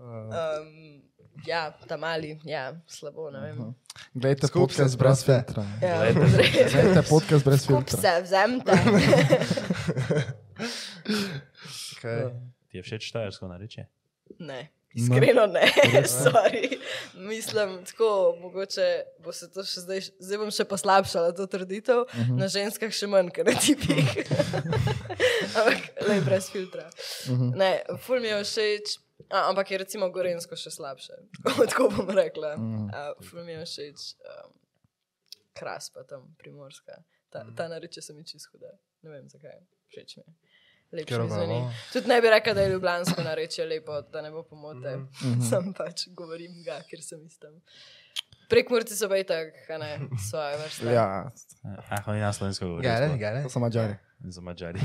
Speaker 1: Um, ja, ta mali, ja, slabo, ne vem.
Speaker 3: Glejte,
Speaker 4: Skup se
Speaker 3: podcast brez
Speaker 4: zbrate.
Speaker 3: filtra.
Speaker 1: Ja,
Speaker 2: Glejte,
Speaker 1: res.
Speaker 3: Glejte, podcast brez
Speaker 1: Kup
Speaker 3: filtra.
Speaker 1: se, vzemite. Ja.
Speaker 4: Kaj?
Speaker 2: Ti je všeč štajersko nareče?
Speaker 1: Ne,
Speaker 3: No.
Speaker 1: iskreno ne, sorry. Mislim, tako, mogoče bo se to še zdaj, zdaj bom še poslabšala to trditev,
Speaker 3: Mhm.
Speaker 1: na ženskah še manj, ker na tipih. Ampak le brez filtra.
Speaker 3: Mhm.
Speaker 1: Ne, ful mi je všeč, a, ampak je recimo gorensko še slabše. tako bom rekla.
Speaker 3: Mhm.
Speaker 1: A, ful mi je všeč. Um, kras, pa tam primorska. Ta,
Speaker 4: Mhm.
Speaker 1: ta nareče se mi čist huda. Ne vem zakaj, všeč mi je. Lepše
Speaker 4: Ker
Speaker 1: mi zveni.
Speaker 4: obravnava.
Speaker 1: Tudi ne bi rekel, da je ljubljansko nareče lepo, da ne bo pomote. Mm
Speaker 4: Mhm.
Speaker 1: -hmm. Sam pač govorim ga, ker sem iz tam. Prek Murci so bej tak, a ne, svoje vrste.
Speaker 3: Ja,
Speaker 2: Ah, oni na slovensko govorijo.
Speaker 4: Gare,
Speaker 2: sploh.
Speaker 4: gare.
Speaker 3: to so mačari.
Speaker 2: Za mačari.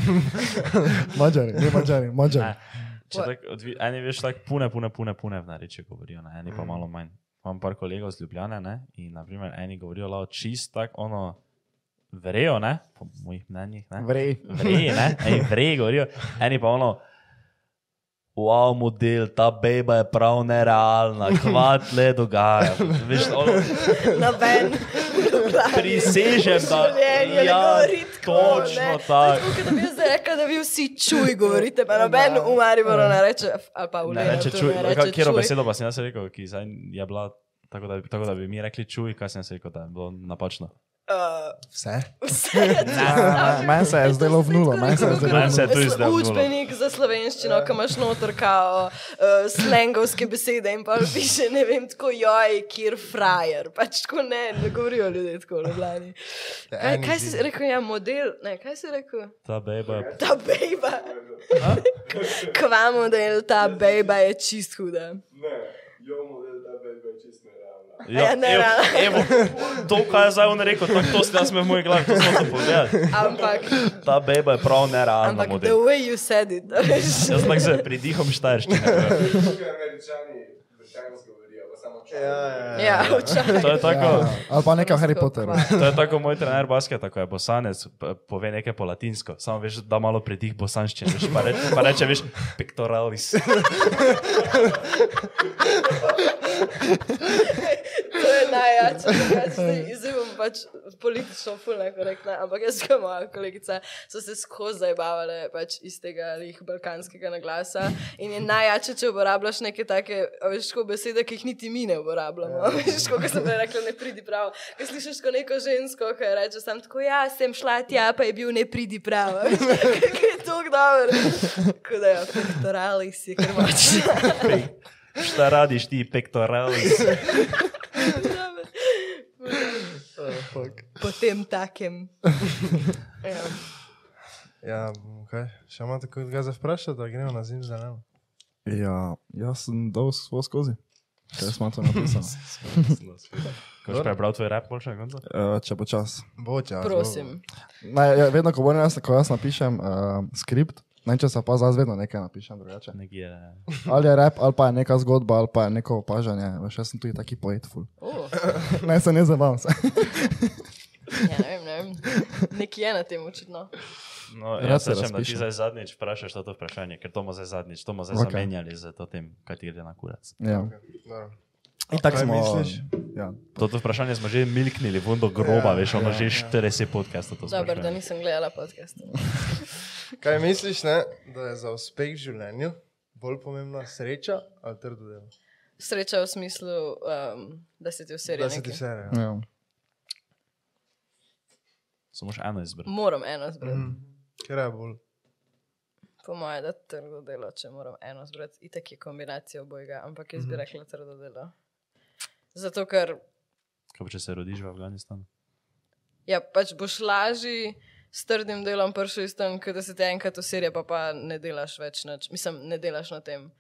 Speaker 3: Mačari, ne mačari, mačari.
Speaker 2: Če tako odvi- Eni veš tako pune, pune, pune, pune v narečju govorijo, ne? eni pa
Speaker 4: Mm.
Speaker 2: malo manj. Imam par kolegov z Ljubljane ne? in naprimer eni govorijo lao čist tako ono, vrejo, ne? po mojih mnenjih, ne?
Speaker 3: Vrej.
Speaker 2: vreji, ne? eni vreji govorijo, eni pa ono. Wow, model, ta beba je prav nerealna, kvat le dogaja. Veš, ono,
Speaker 1: Noben.
Speaker 2: Prisežem, da- ja, točno tako.
Speaker 1: Kot da bi jaz rekel, da vi vsi čuj govorite, pa noben v Mariboru ne reče, f- ali pa v
Speaker 2: Ne, reče
Speaker 1: Lenartu
Speaker 2: čuj,
Speaker 1: no, ne
Speaker 2: ka-
Speaker 1: reče
Speaker 2: katero
Speaker 1: čuj.
Speaker 2: besedo pa sem jaz rekel, ki zdaj je bila, tako da, bi- tako da bi mi rekli čuj, kaj sem jaz rekel, da je bilo napačno.
Speaker 1: Uh,
Speaker 4: Vse.
Speaker 1: vse je
Speaker 3: Ja, Meni se je zdelo v nulo, meni se je zdelo v
Speaker 2: Meni se je
Speaker 3: nulo.
Speaker 2: tudi zdelo v nulo.
Speaker 1: Učbenik za slovenščino, ki imaš noter kao uh, slengovske besede in pa piše, ne vem, tako joj, kjer frajer. Pač tako ne, ne govorijo ljudje tako v Ljubljani. Kaj, kaj si rekel, ja, model, ne, kaj si rekel?
Speaker 2: Ta beba je
Speaker 1: Ta bejba. Kvamo, da je ta bejba je čist huda.
Speaker 5: Ne, jo model ta bejba je čist nerealna.
Speaker 1: Ja, ne,
Speaker 2: evo,
Speaker 1: ne.
Speaker 2: evo, to, kar je zdaj on rekel, to, to ste jaz me v moji glavi, to smo se povedali.
Speaker 1: Ampak,
Speaker 2: Ta beba je prav nerealna
Speaker 1: ampak the
Speaker 2: model.
Speaker 1: way you said it, veš.
Speaker 2: Jaz tako se pridihom štajrščine.
Speaker 5: Tukaj američani britansko govorijo, pa samo čujem.
Speaker 1: Ja, včasih.
Speaker 2: To je tako.
Speaker 3: Ja, Ali pa nekaj Harry Potter.
Speaker 2: To je tako moj trener basketa, ko je bosanec, p- pove nekaj po latinsko, samo veš, da malo predih bosanščine, veš, pa, reč, pa reče, veš, pectoralis.
Speaker 1: To je najjače. drugače zdaj- Zdaj bom pač politično fulna korektna, ampak jaz kot moja kolegica so se skozi zabavale pač iz tega lih balkanskega naglasa in je najjače, če uporabljaš neke take a veš, tako besede, ki jih niti mi ne uporabljamo. A Veš, kot sem prej rekla, ne pridi prav. Ker slišiš kot neko žensko, ki reče sam tako, ja, sem šla tja, pa je bil ne pridi prav. a Veš, kaj je to dobro. Tako da ja, pektorali si, ker moče.
Speaker 2: Pek- Šta radiš ti, pectoralis?
Speaker 1: Potem takem. Ja.
Speaker 4: Ja, bomo kaj. Še imate kaj za vprašati, da gremo na zim zraven?
Speaker 3: Ja, jaz sem dol svoj skozi. Ker smo to napisali.
Speaker 2: Ko si prebral tvoj rap, boljša konca?
Speaker 3: Eh, Če bo čas.
Speaker 1: ja,
Speaker 4: Boča.
Speaker 1: Prosim.
Speaker 3: Naj, ja, vedno, ko, bom jaz, ko jaz napišem uh, skript, ne če se pa zdaj vedno nekaj napišem drugače.
Speaker 2: Nekje. eh,
Speaker 3: Ali je rap, ali pa je neka zgodba, ali pa je neko opažanje. Veš, jaz sem tudi taki poetful.
Speaker 1: O,
Speaker 3: Ne, se ne zabavam. se.
Speaker 1: Oh. Ja, ne vem, ne vem. Nek je na tem očitno.
Speaker 2: No,
Speaker 3: Rad
Speaker 2: jaz
Speaker 3: se
Speaker 2: rečem, da ti
Speaker 3: razpišem.
Speaker 2: zdaj zadnjič vprašaš to vprašanje, ker to bomo zdaj zadnjič, to bomo zdaj
Speaker 3: Ok.
Speaker 2: okay. zamenjali z to tem, kaj ti gre na kurac.
Speaker 3: Ja. In
Speaker 4: Kaj
Speaker 3: tako smo.
Speaker 4: misliš?
Speaker 3: Ja.
Speaker 2: To vprašanje smo že milknili, vundo groba,
Speaker 4: Ja,
Speaker 2: ja, veš, ono
Speaker 4: ja,
Speaker 2: že
Speaker 4: ja.
Speaker 2: 40 podcastov to
Speaker 1: Dobro, da
Speaker 2: sprašuje.
Speaker 1: nisem gledala podcasta.
Speaker 4: Kaj misliš, ne, da je za uspeh v življenju bolj pomembna sreča ali trdo delo?
Speaker 1: Sreča v smislu, um, da se ti vse
Speaker 4: Da se ti
Speaker 1: reče.
Speaker 4: vse reče.
Speaker 3: Ja.
Speaker 2: Samo še eno izbrati.
Speaker 1: Moram eno zbrati.
Speaker 4: Mhm.
Speaker 1: Mm.
Speaker 4: Ker je bolj.
Speaker 1: Po mojem, da trdo delo, če moram eno zbrati. Itak je kombinacija obojega, ampak jaz bi
Speaker 4: Mhm.
Speaker 1: rekla trdo delo. Zato, ker
Speaker 2: Kaj pa če se rodiš v Afganistanu?
Speaker 1: Ja, pač boš lažji s trdim delom prišel iz tam, kot da se te enkrat usirje, pa, pa ne delaš več nič. Mislim, ne delaš na tem.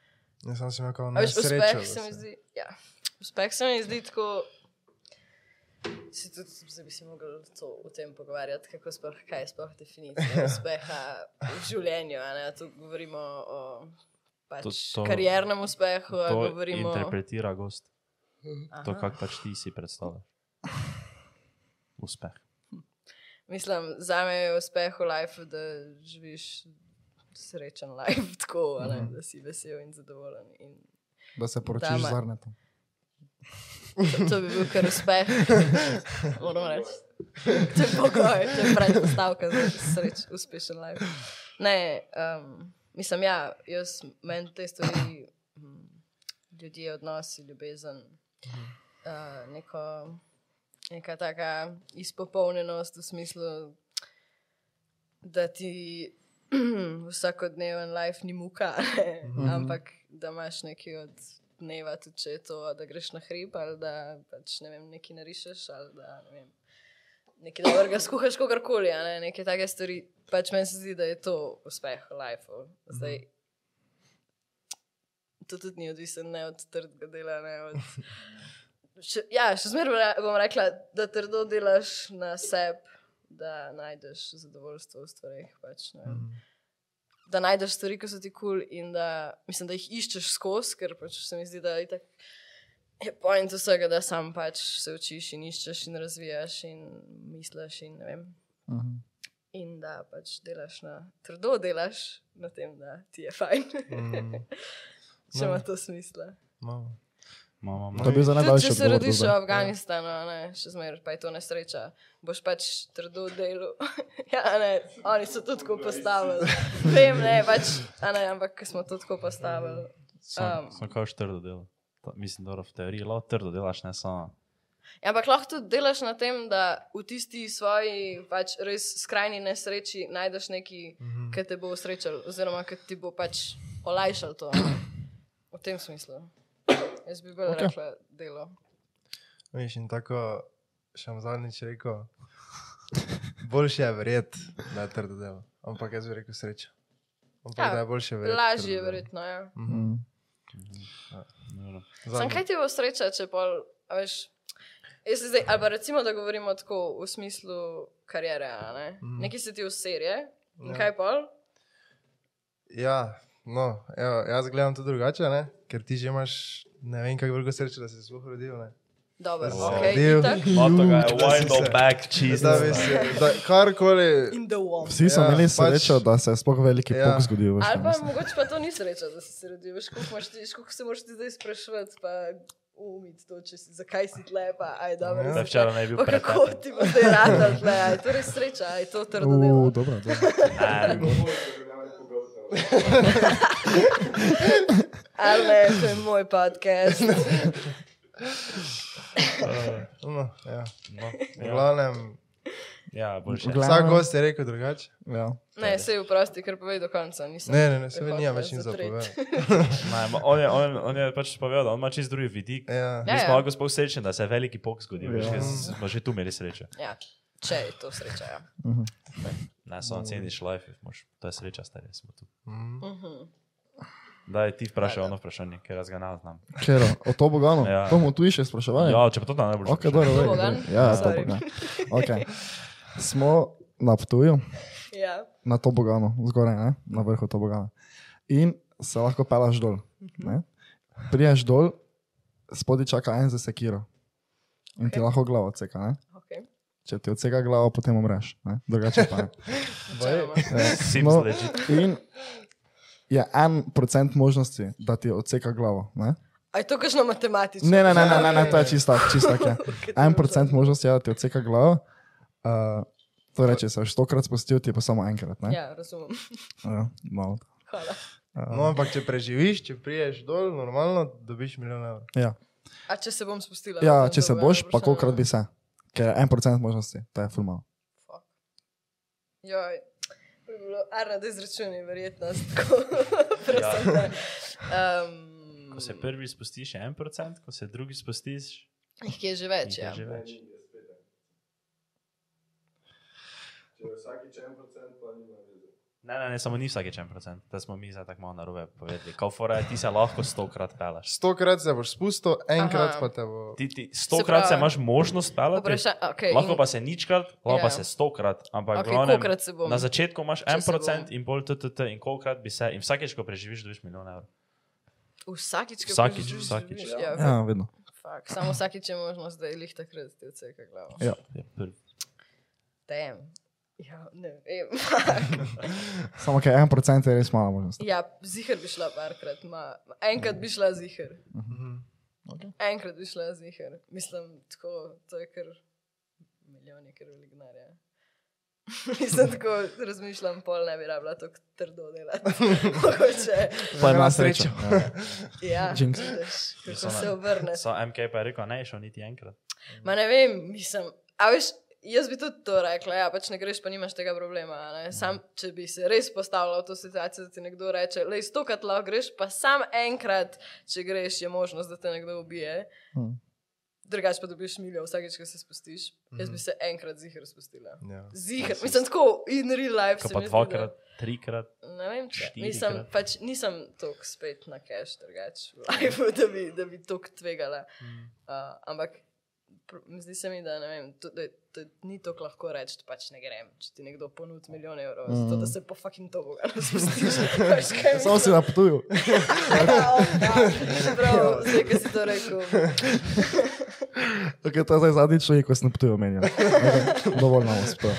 Speaker 4: Jaz sem si rekel,
Speaker 1: A
Speaker 4: ne
Speaker 1: veš,
Speaker 4: sreča.
Speaker 1: uspeh se mi zdi. Ja, uspeh se mi zdi tako. Se tudi se bi si mogli to, o tem pogovarjati, kako sploh, kaj je sploh definicija uspeha v življenju. a Ne? Tu govorimo o pač,
Speaker 2: To-
Speaker 1: to,
Speaker 2: to-
Speaker 1: to, kariernem uspehu, a
Speaker 2: To
Speaker 1: govorimo
Speaker 2: interpretira gost.
Speaker 1: Aha.
Speaker 2: To, kar pač ti si predstavljaš. Uspeh.
Speaker 1: Mislim, za me je uspeh v lifeu, da živiš srečen life, tako, a ne, da si vesel in zadovoljen. In
Speaker 3: Da se
Speaker 1: Da,
Speaker 3: poročiš
Speaker 1: ma-
Speaker 3: z Arnetom.
Speaker 1: to, to bi bil kar uspeh. Moram reči. To je pogoj, to je predpostavka za sreč, uspešen life. Ne, um, mislim, ja, jaz meni te stvari, mm, ljudje, odnosi, ljubezen, uh, neko, neka taka izpopolnjenost v smislu, da ti vsakodneven life ni muka, ne, ampak da imaš nekaj od dneva, tudi če je to, da greš na hrib ali da pač ne vem, nekaj narišeš ali da ne vem. nekaj dobrega skuhaš, kakorkoli, a ne? nekaj take stvari. Pač meni se zdi, da je to uspeh v lifeu. Zdaj, to tudi ni odvisno ne od trdega dela, ne od. Še, ja, še zmeraj bom rekla, da trdo delaš na sebi, da najdeš zadovoljstvo v stvareh. Pač, ne vem
Speaker 4: Mm. Mhm.
Speaker 1: da najdeš stvari, ki so ti kul, cool in da, mislim, da jih iščeš skozi, ker pač se mi zdi, da je tako. Je point vsega, da sam pač se učiš in iščeš in razvijaš in misliš in ne vem.
Speaker 3: Mhm.
Speaker 1: In da pač delaš na, trdo delaš na tem, da ti je fajn.
Speaker 4: Mm,
Speaker 1: Če ima
Speaker 4: No.
Speaker 1: to smisla.
Speaker 4: malo.
Speaker 2: Mama, mama.
Speaker 3: To bi za
Speaker 1: Tudi,
Speaker 3: najdaljši
Speaker 1: če se
Speaker 3: odgovor.
Speaker 1: rodiš v
Speaker 3: do zdaj.
Speaker 1: Afganistanu, a ne, še zmeraj pa je to nesreča. Boš pač trdo delal. ja, a ne, oni so to tako postavili. Vem, ne, pač, a ne, ampak ker smo to tako postavili.
Speaker 2: Sem,
Speaker 1: Um.
Speaker 2: um, sem kao še trdo delo. To, mislim, da v teoriji lahko trdo delaš, ne samo.
Speaker 1: Ja, ampak lahko tudi delaš na tem, da v tisti svoji pač res skrajni nesreči najdeš nekaj,
Speaker 4: Mhm.
Speaker 1: ki te bo usrečal, oziroma ki ti bo pač olajšal to. ne. V tem smislu. Jaz bi bolj okay.
Speaker 3: Okej.
Speaker 1: rekla delo.
Speaker 4: Veš, in tako še vam zadnjič rekel, boljše je verjeti, da je trdo delo. Ampak jaz bi rekel sreča. Ampak
Speaker 1: Ja,
Speaker 4: da je boljše verjeti.
Speaker 1: Lažje je verjetno, ja.
Speaker 3: Mhm.
Speaker 1: Sam kaj ti bo sreča, če pol, a veš. Jaz se zdaj, ali pa recimo, da govorimo tako v smislu karijere, a ne?
Speaker 4: Mhm.
Speaker 1: Nekaj se ti userje, in
Speaker 4: Ja.
Speaker 1: kaj pol?
Speaker 4: Ja, no, evo, jaz gledam to drugače, ne? ker ti že imaš ne vem kako veliko sreče, da si se sploh rodil. ne.
Speaker 1: Dobro,
Speaker 4: Da si
Speaker 1: ok,
Speaker 4: rodil.
Speaker 1: itak.
Speaker 2: Mato ga je
Speaker 4: Ljubi, da si
Speaker 2: wild
Speaker 4: se-
Speaker 2: back cheese.
Speaker 4: Da bi se, da karkoli.
Speaker 1: In the womb.
Speaker 3: Vsi so
Speaker 4: Ja,
Speaker 3: imeli
Speaker 4: pač-
Speaker 3: srečo, da se je sploh veliki
Speaker 4: Ja.
Speaker 3: pok zgodil. veš,
Speaker 1: Ali
Speaker 3: ne,
Speaker 1: pa
Speaker 3: mislim.
Speaker 1: mogoče pa to ni sreča, da si se rodil. Veš, koliko, imaš ti, veš, koliko se moraš ti zdaj sprašovati, pa umiti to, če si, zakaj si tle, pa aj dobro.
Speaker 4: Ja.
Speaker 1: si
Speaker 2: Da
Speaker 1: tle.
Speaker 2: včeraj ne bi bil
Speaker 1: Pa
Speaker 2: pretek.
Speaker 1: kako ti bo zdaj rado tle, aj to res sreča, aj to trdo
Speaker 3: U,
Speaker 1: delo.
Speaker 3: dobro, dobro.
Speaker 2: Ne,
Speaker 1: Ali ne, to je moj podcast.
Speaker 4: No, ja.
Speaker 2: no,
Speaker 4: V
Speaker 2: ja,
Speaker 4: glavnem,
Speaker 2: ja, boljše.
Speaker 3: V glavi-
Speaker 4: vsak gost je rekel drugače.
Speaker 3: Ja.
Speaker 1: Ne, se je vprosti, ker povej do konca. Nisem
Speaker 4: Ne, ne, ne, se mi
Speaker 1: prehotela
Speaker 4: nima več nič
Speaker 1: zatreti.
Speaker 4: zapovedati.
Speaker 2: Ne, ma- on, je, on, on je pač povedal, da ima čist drugi vidik.
Speaker 4: Ja.
Speaker 2: Mi
Speaker 1: Ja,
Speaker 2: smo
Speaker 1: ja.
Speaker 2: lahko sploh srečni, da se je veliki pok zgodil.
Speaker 3: Ja.
Speaker 2: Ja. Smo že tu imeli srečo.
Speaker 1: Ja, če je to sreča. Ja.
Speaker 3: Mhm.
Speaker 2: Ne,
Speaker 3: No.
Speaker 2: samo ceniš life, moš, to je sreča, stari smo tu.
Speaker 4: Mhm.
Speaker 1: Mhm.
Speaker 2: Da je ti vprašal ono vprašanje, ker jaz ga ne znam.
Speaker 3: Čero, o to bogano.
Speaker 2: Ja.
Speaker 3: To bomo tu še spraševali.
Speaker 2: Ja, če pa to tam ne boš.
Speaker 3: Ok,
Speaker 2: vprašal.
Speaker 3: dobro, dobro.
Speaker 1: Tobogan?
Speaker 3: Ja, to
Speaker 1: Sorry.
Speaker 3: bogan. Okay. Smo na Ptuju,
Speaker 1: Ja.
Speaker 3: na toboganu, zgoraj, ne? na vrhu tobogana. In se lahko pelaš dol. Ne? Priješ dol, spodaj čaka en za sekiro. In ti
Speaker 1: Ok.
Speaker 3: lahko glavo odseka. Ne?
Speaker 1: Okay.
Speaker 3: Če ti odseka glavo, potem umreš. Ne? Drugače pa ne.
Speaker 1: Načeloma.
Speaker 3: Ja.
Speaker 2: Sims
Speaker 3: No,
Speaker 2: legit.
Speaker 3: in je en procent možnosti, da ti odseka glavo. Ne?
Speaker 1: A je to kakšno matematično? Ja,
Speaker 3: Ne, ne, ne, ne, ne, ne, to je čisto, čisto. En procent možnosti je, da ti odseka glavo. Uh, to reče, se boš stokrat spustil, ti je pa samo enkrat. Ne?
Speaker 1: Ja, razumem.
Speaker 3: Ja, eh, malo.
Speaker 1: Hvala. ja.
Speaker 4: No, ampak če preživiš, če priješ dol, normalno dobiš milijon evrov.
Speaker 3: Ja.
Speaker 1: A če se bom spustila?
Speaker 3: ja,
Speaker 1: potem
Speaker 3: če se
Speaker 1: to bo
Speaker 3: boš,
Speaker 1: eno
Speaker 3: pa
Speaker 1: vprašanje.
Speaker 3: kolikrat bi se. Ker je en procent možnosti, to je fulmalo.
Speaker 1: Joj, to je bilo arno, da izračuni verjetnost. tako
Speaker 2: Ja.
Speaker 1: procentna. um,
Speaker 2: Ko se prvi spustiš, je en procent, ko se drugi spustiš,
Speaker 1: Jih je že
Speaker 2: jih
Speaker 1: več,
Speaker 2: je
Speaker 1: ja.
Speaker 2: že več.
Speaker 5: Če je vsakič 1%, pa nima veze.
Speaker 2: Ne, ne, ne, samo ni vsakeč en procent, da smo mi zdaj tako malo narobe povedali. Kao fora je, ti se lahko stokrat pelaš.
Speaker 4: Stokrat se boš spustil, enkrat
Speaker 1: Aha.
Speaker 4: pa te bo.
Speaker 2: Ti, ti stokrat se
Speaker 1: pravi-
Speaker 2: imaš možnost pelati,
Speaker 1: Vprašanje, okay,
Speaker 2: lahko pa se ničkrat, lahko
Speaker 1: Ja.
Speaker 2: pa se stokrat, ampak
Speaker 1: okay,
Speaker 2: glavno.
Speaker 1: kolikrat se bom.
Speaker 2: Na začetku imaš en
Speaker 1: se bom.
Speaker 2: procent in pol TTT in kolikrat bi se, in vsakeč, ko preživiš, dobiš milijon evrov.
Speaker 1: Vsakič, ko
Speaker 2: Vsakič,
Speaker 1: preživiš,
Speaker 2: vsakič.
Speaker 1: dobiš, Ja,
Speaker 3: Ja, vedno.
Speaker 1: fak, samo vsakič je možnost, da je lih takrat ti odseka glavo.
Speaker 3: Ja.
Speaker 2: Je prvi.
Speaker 1: Tem. Ja, ne vem.
Speaker 3: Samo ker en procent je res mala možnost.
Speaker 1: ja, zihar bi šla parkrat, ma. enkrat bi šla zihar.
Speaker 4: Mhm.
Speaker 1: Enkrat bi šla zihar. Mislim, tako, to je kar milijon, je kar velik denarja. Mislim, tako razmišljam, pol ne bi rabila tako trdo delati. Mogoče.
Speaker 3: Pa je
Speaker 4: Imela
Speaker 3: na
Speaker 4: srečo.
Speaker 3: srečo. Ja.
Speaker 1: Ja,
Speaker 3: Jinx.
Speaker 1: vidiš,
Speaker 2: Mislim,
Speaker 1: kako
Speaker 2: ne.
Speaker 1: se obrne.
Speaker 2: So MK pa je rekel, ne, je šel niti enkrat.
Speaker 1: Ja, Ma ne vem, mislim. A veš, jaz bi tudi to rekla, ja, pač ne greš, pa nimaš tega problema. a ne. Sam, če bi se res postavila v to situacijo, da ti nekdo reče, le stokrat lahko greš, pa sam enkrat, če greš, je možnost, da te nekdo ubije.
Speaker 3: Mhm.
Speaker 1: drugače pa dobiš milijo vsakeč, ko se spustiš. Mm -hmm. Jaz bi
Speaker 2: Mhm.
Speaker 1: se enkrat zihar spustila.
Speaker 4: Ja.
Speaker 1: Zihar, mislim tako in real life.
Speaker 2: Ko
Speaker 1: se
Speaker 2: pa
Speaker 1: mi zdi, da- Ja.
Speaker 2: dvakrat, trikrat.
Speaker 1: Ne vem, če
Speaker 2: Štirikrat.
Speaker 1: nisem, pač, nisem tako spet na cache, drugače v lifeu, da bi, da bi tako tvegala.
Speaker 3: Mm.
Speaker 1: Uh, ampak pr- zdi se mi, da, ne vem, to, da, da ni tako lahko reči, da pač ne grem. Če ti nekdo ponudi milijon evrov, mm. zato, da se po fucking to boga razpustiš. Veš, kaj
Speaker 3: Samo si
Speaker 1: mislim?
Speaker 3: napotuju.
Speaker 1: Ja, o, ja. Prav, Zdaj, ki si to rekel.
Speaker 3: Okay, to je zdaj zadnji človek, ko sem napotuju menjal. Okay, dovolj nam uspel.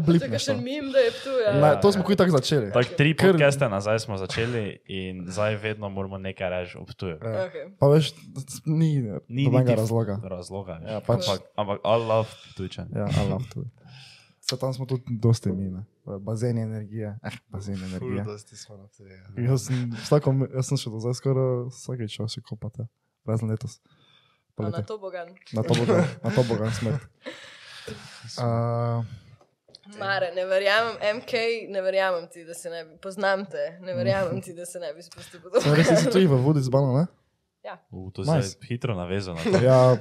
Speaker 1: To je
Speaker 3: blipneš.
Speaker 1: še
Speaker 3: to.
Speaker 1: mim, da je tu. Ja.
Speaker 3: Ne, to smo kuj tako začeli.
Speaker 2: Tako tri
Speaker 3: Ker-
Speaker 2: podcaste nazaj smo začeli in zdaj vedno moramo nekaj reči, obtujem.
Speaker 1: Okay.
Speaker 3: Pa veš, ni
Speaker 2: Ni niti-
Speaker 3: nobenega razloga.
Speaker 2: Razloga.
Speaker 3: Ja,
Speaker 2: Ja,
Speaker 3: pač.
Speaker 2: ampak, ampak I love tujčan.
Speaker 3: Ja, Allah tudi. Se tam smo tudi dosti mi, ne. Bazen je energija. Eh, bazen je energija.
Speaker 4: Fuldosti smo na ja. tega.
Speaker 3: Jaz sem, vsako, me- jaz sem še do zdaj skoraj vsakeč šel si kopati, razen letos.
Speaker 1: A Na
Speaker 3: Poleti.
Speaker 1: to bogan.
Speaker 3: Na to boga, na to boga smrt. Uh,
Speaker 1: Mare, ne verjamem, MK, ne verjamem ti, da se ne bi, poznam te, ne verjamem ti, da se ne bi spustil pod
Speaker 3: sem res si tudi v vodi zbano, ne?
Speaker 2: U, to se je
Speaker 3: Nice.
Speaker 2: hitro navezal na to.
Speaker 3: Ja,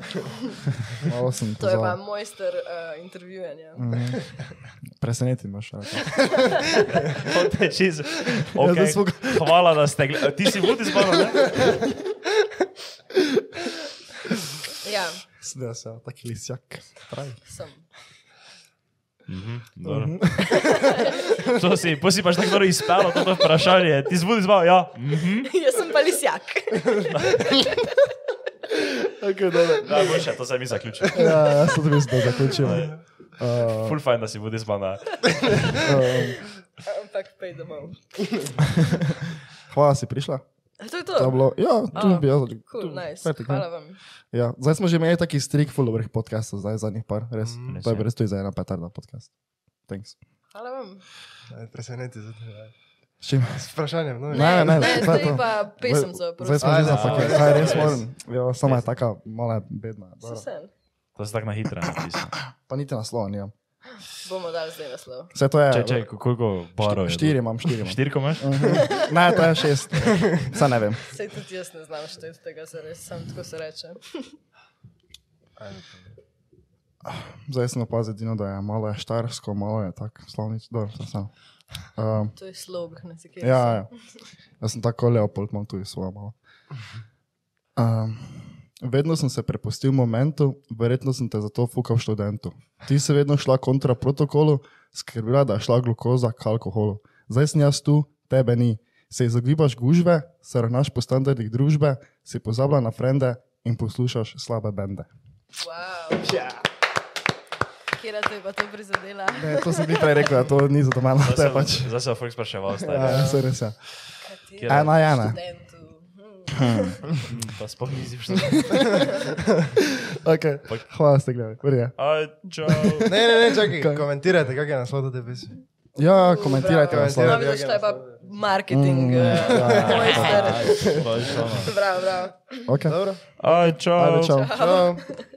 Speaker 3: malo sem
Speaker 1: To je pa
Speaker 3: pozabil.
Speaker 1: mojster uh, intervjuvanja.
Speaker 3: Mhm. Preseneti imaš. ali pa.
Speaker 2: To je čisto-
Speaker 3: Ja, zdaj
Speaker 2: Okay.
Speaker 3: smo
Speaker 2: Hvala, da ste gledali. Ti si vudi zbano, ne?
Speaker 1: Ja,
Speaker 3: Sedaj se, taki lisjak. Pravi.
Speaker 1: sem.
Speaker 2: Mhm, dobro. To si, po si pač tako dobro izpelo to vprašanje. Ti si vudi zbano, ja. Mhm.
Speaker 1: Jaz sem pa lisjak.
Speaker 3: Okay, dobro.
Speaker 2: Da, boljše, to se mi zaključi.
Speaker 3: ja, jaz sem tudi zdaj zaključil. Uh,
Speaker 2: Ful fajn, da si vudi zbano.
Speaker 3: um,
Speaker 1: Ampak pej domov.
Speaker 3: hvala, si prišla.
Speaker 1: A to je to.
Speaker 3: To je bilo, ja, tu
Speaker 1: A,
Speaker 3: bi jaz.
Speaker 1: Ah, Cool,
Speaker 3: tu-
Speaker 1: nice.
Speaker 3: fertik, ne.
Speaker 1: Hvala vam.
Speaker 3: Ja, zdaj smo že imeli taki strik full dobrih podcastov, zdaj zadnjih par, res.
Speaker 4: Mm.
Speaker 3: Mm, to je bil res tudi za ena petarda podcast. Thanks.
Speaker 1: Hvala vam.
Speaker 4: Aj, Preseneti za tebe.
Speaker 3: S čim?
Speaker 4: S vprašanjem, no?
Speaker 3: Ne, ne, ne,
Speaker 1: ne,
Speaker 3: to je
Speaker 1: zdaj
Speaker 3: to.
Speaker 1: pa pesemco,
Speaker 3: Zdaj
Speaker 1: prosim.
Speaker 3: smo že
Speaker 4: Ajde,
Speaker 3: za paket,
Speaker 4: ajde,
Speaker 3: zdaj res
Speaker 4: res.
Speaker 3: moram. Jo, sama je taka mala bedna. dobro.
Speaker 1: Susen.
Speaker 2: To si tako na hitro napisal.
Speaker 3: Pa niti naslova nimam.
Speaker 1: Bomo dali zdaj naslov.
Speaker 3: Vse to je.
Speaker 2: Če, če, koliko barov je?
Speaker 3: Štiri imam, štiri imam.
Speaker 2: Štirko imaš?
Speaker 3: Mhm. Ne, to je šest. Saj ne vem.
Speaker 1: Sej tudi jaz ne znam šteti tega, se res sam tako se reče.
Speaker 4: Ajde,
Speaker 3: Zdaj sem opazil edino, da je malo je štajersko, malo je tako slovnič, dobro, to sem. Um,
Speaker 1: To je slog, ne se kaj.
Speaker 3: ja, ja. Jaz sem tako Leopold, imam tudi svojo malo. Um, vedno sem se prepustil momentu, verjetno sem te zato fukal študentu. Ti si vedno šla kontra protokolu, skrbila, da je šla glukoza k alkoholu. Zdaj sem jaz tu, tebe ni. Se izogibaš gužve, se ravnaš po standardih družbe, si pozabila na frende in poslušaš slabe bende.
Speaker 1: Wow. Ja. Kjera te je pa to prizadela?
Speaker 3: Ne, E, to sem ti prej rekel, da to ni za to malo. To je pač.
Speaker 2: Zdaj se je Fox spraševal, stari.
Speaker 3: Ja, se res je.
Speaker 1: Kateri
Speaker 2: Kjera?
Speaker 3: Ena je ena.
Speaker 1: študentu? Hm.
Speaker 2: Hmm, Pa sploh nisi šel.
Speaker 3: Okay. Hvala, ste gledali. v redu je.
Speaker 2: Aj, čau.
Speaker 4: Ne, ne, ne, čakaj,
Speaker 3: Kaj?
Speaker 4: komentirajte, kak je naslov te pesmi.
Speaker 3: Ja, komentirajte
Speaker 1: Bravo.
Speaker 3: naslov.
Speaker 1: No, vidiš, to je pa cioè, marketing.
Speaker 3: Mm,
Speaker 1: eh,
Speaker 3: ja, ja, ja.
Speaker 1: mojster.
Speaker 2: Aj,
Speaker 1: Bravo, bravo.
Speaker 3: Okay.
Speaker 4: Dobro?
Speaker 2: Aj, čau.
Speaker 3: Ajde, čau.
Speaker 4: Čau.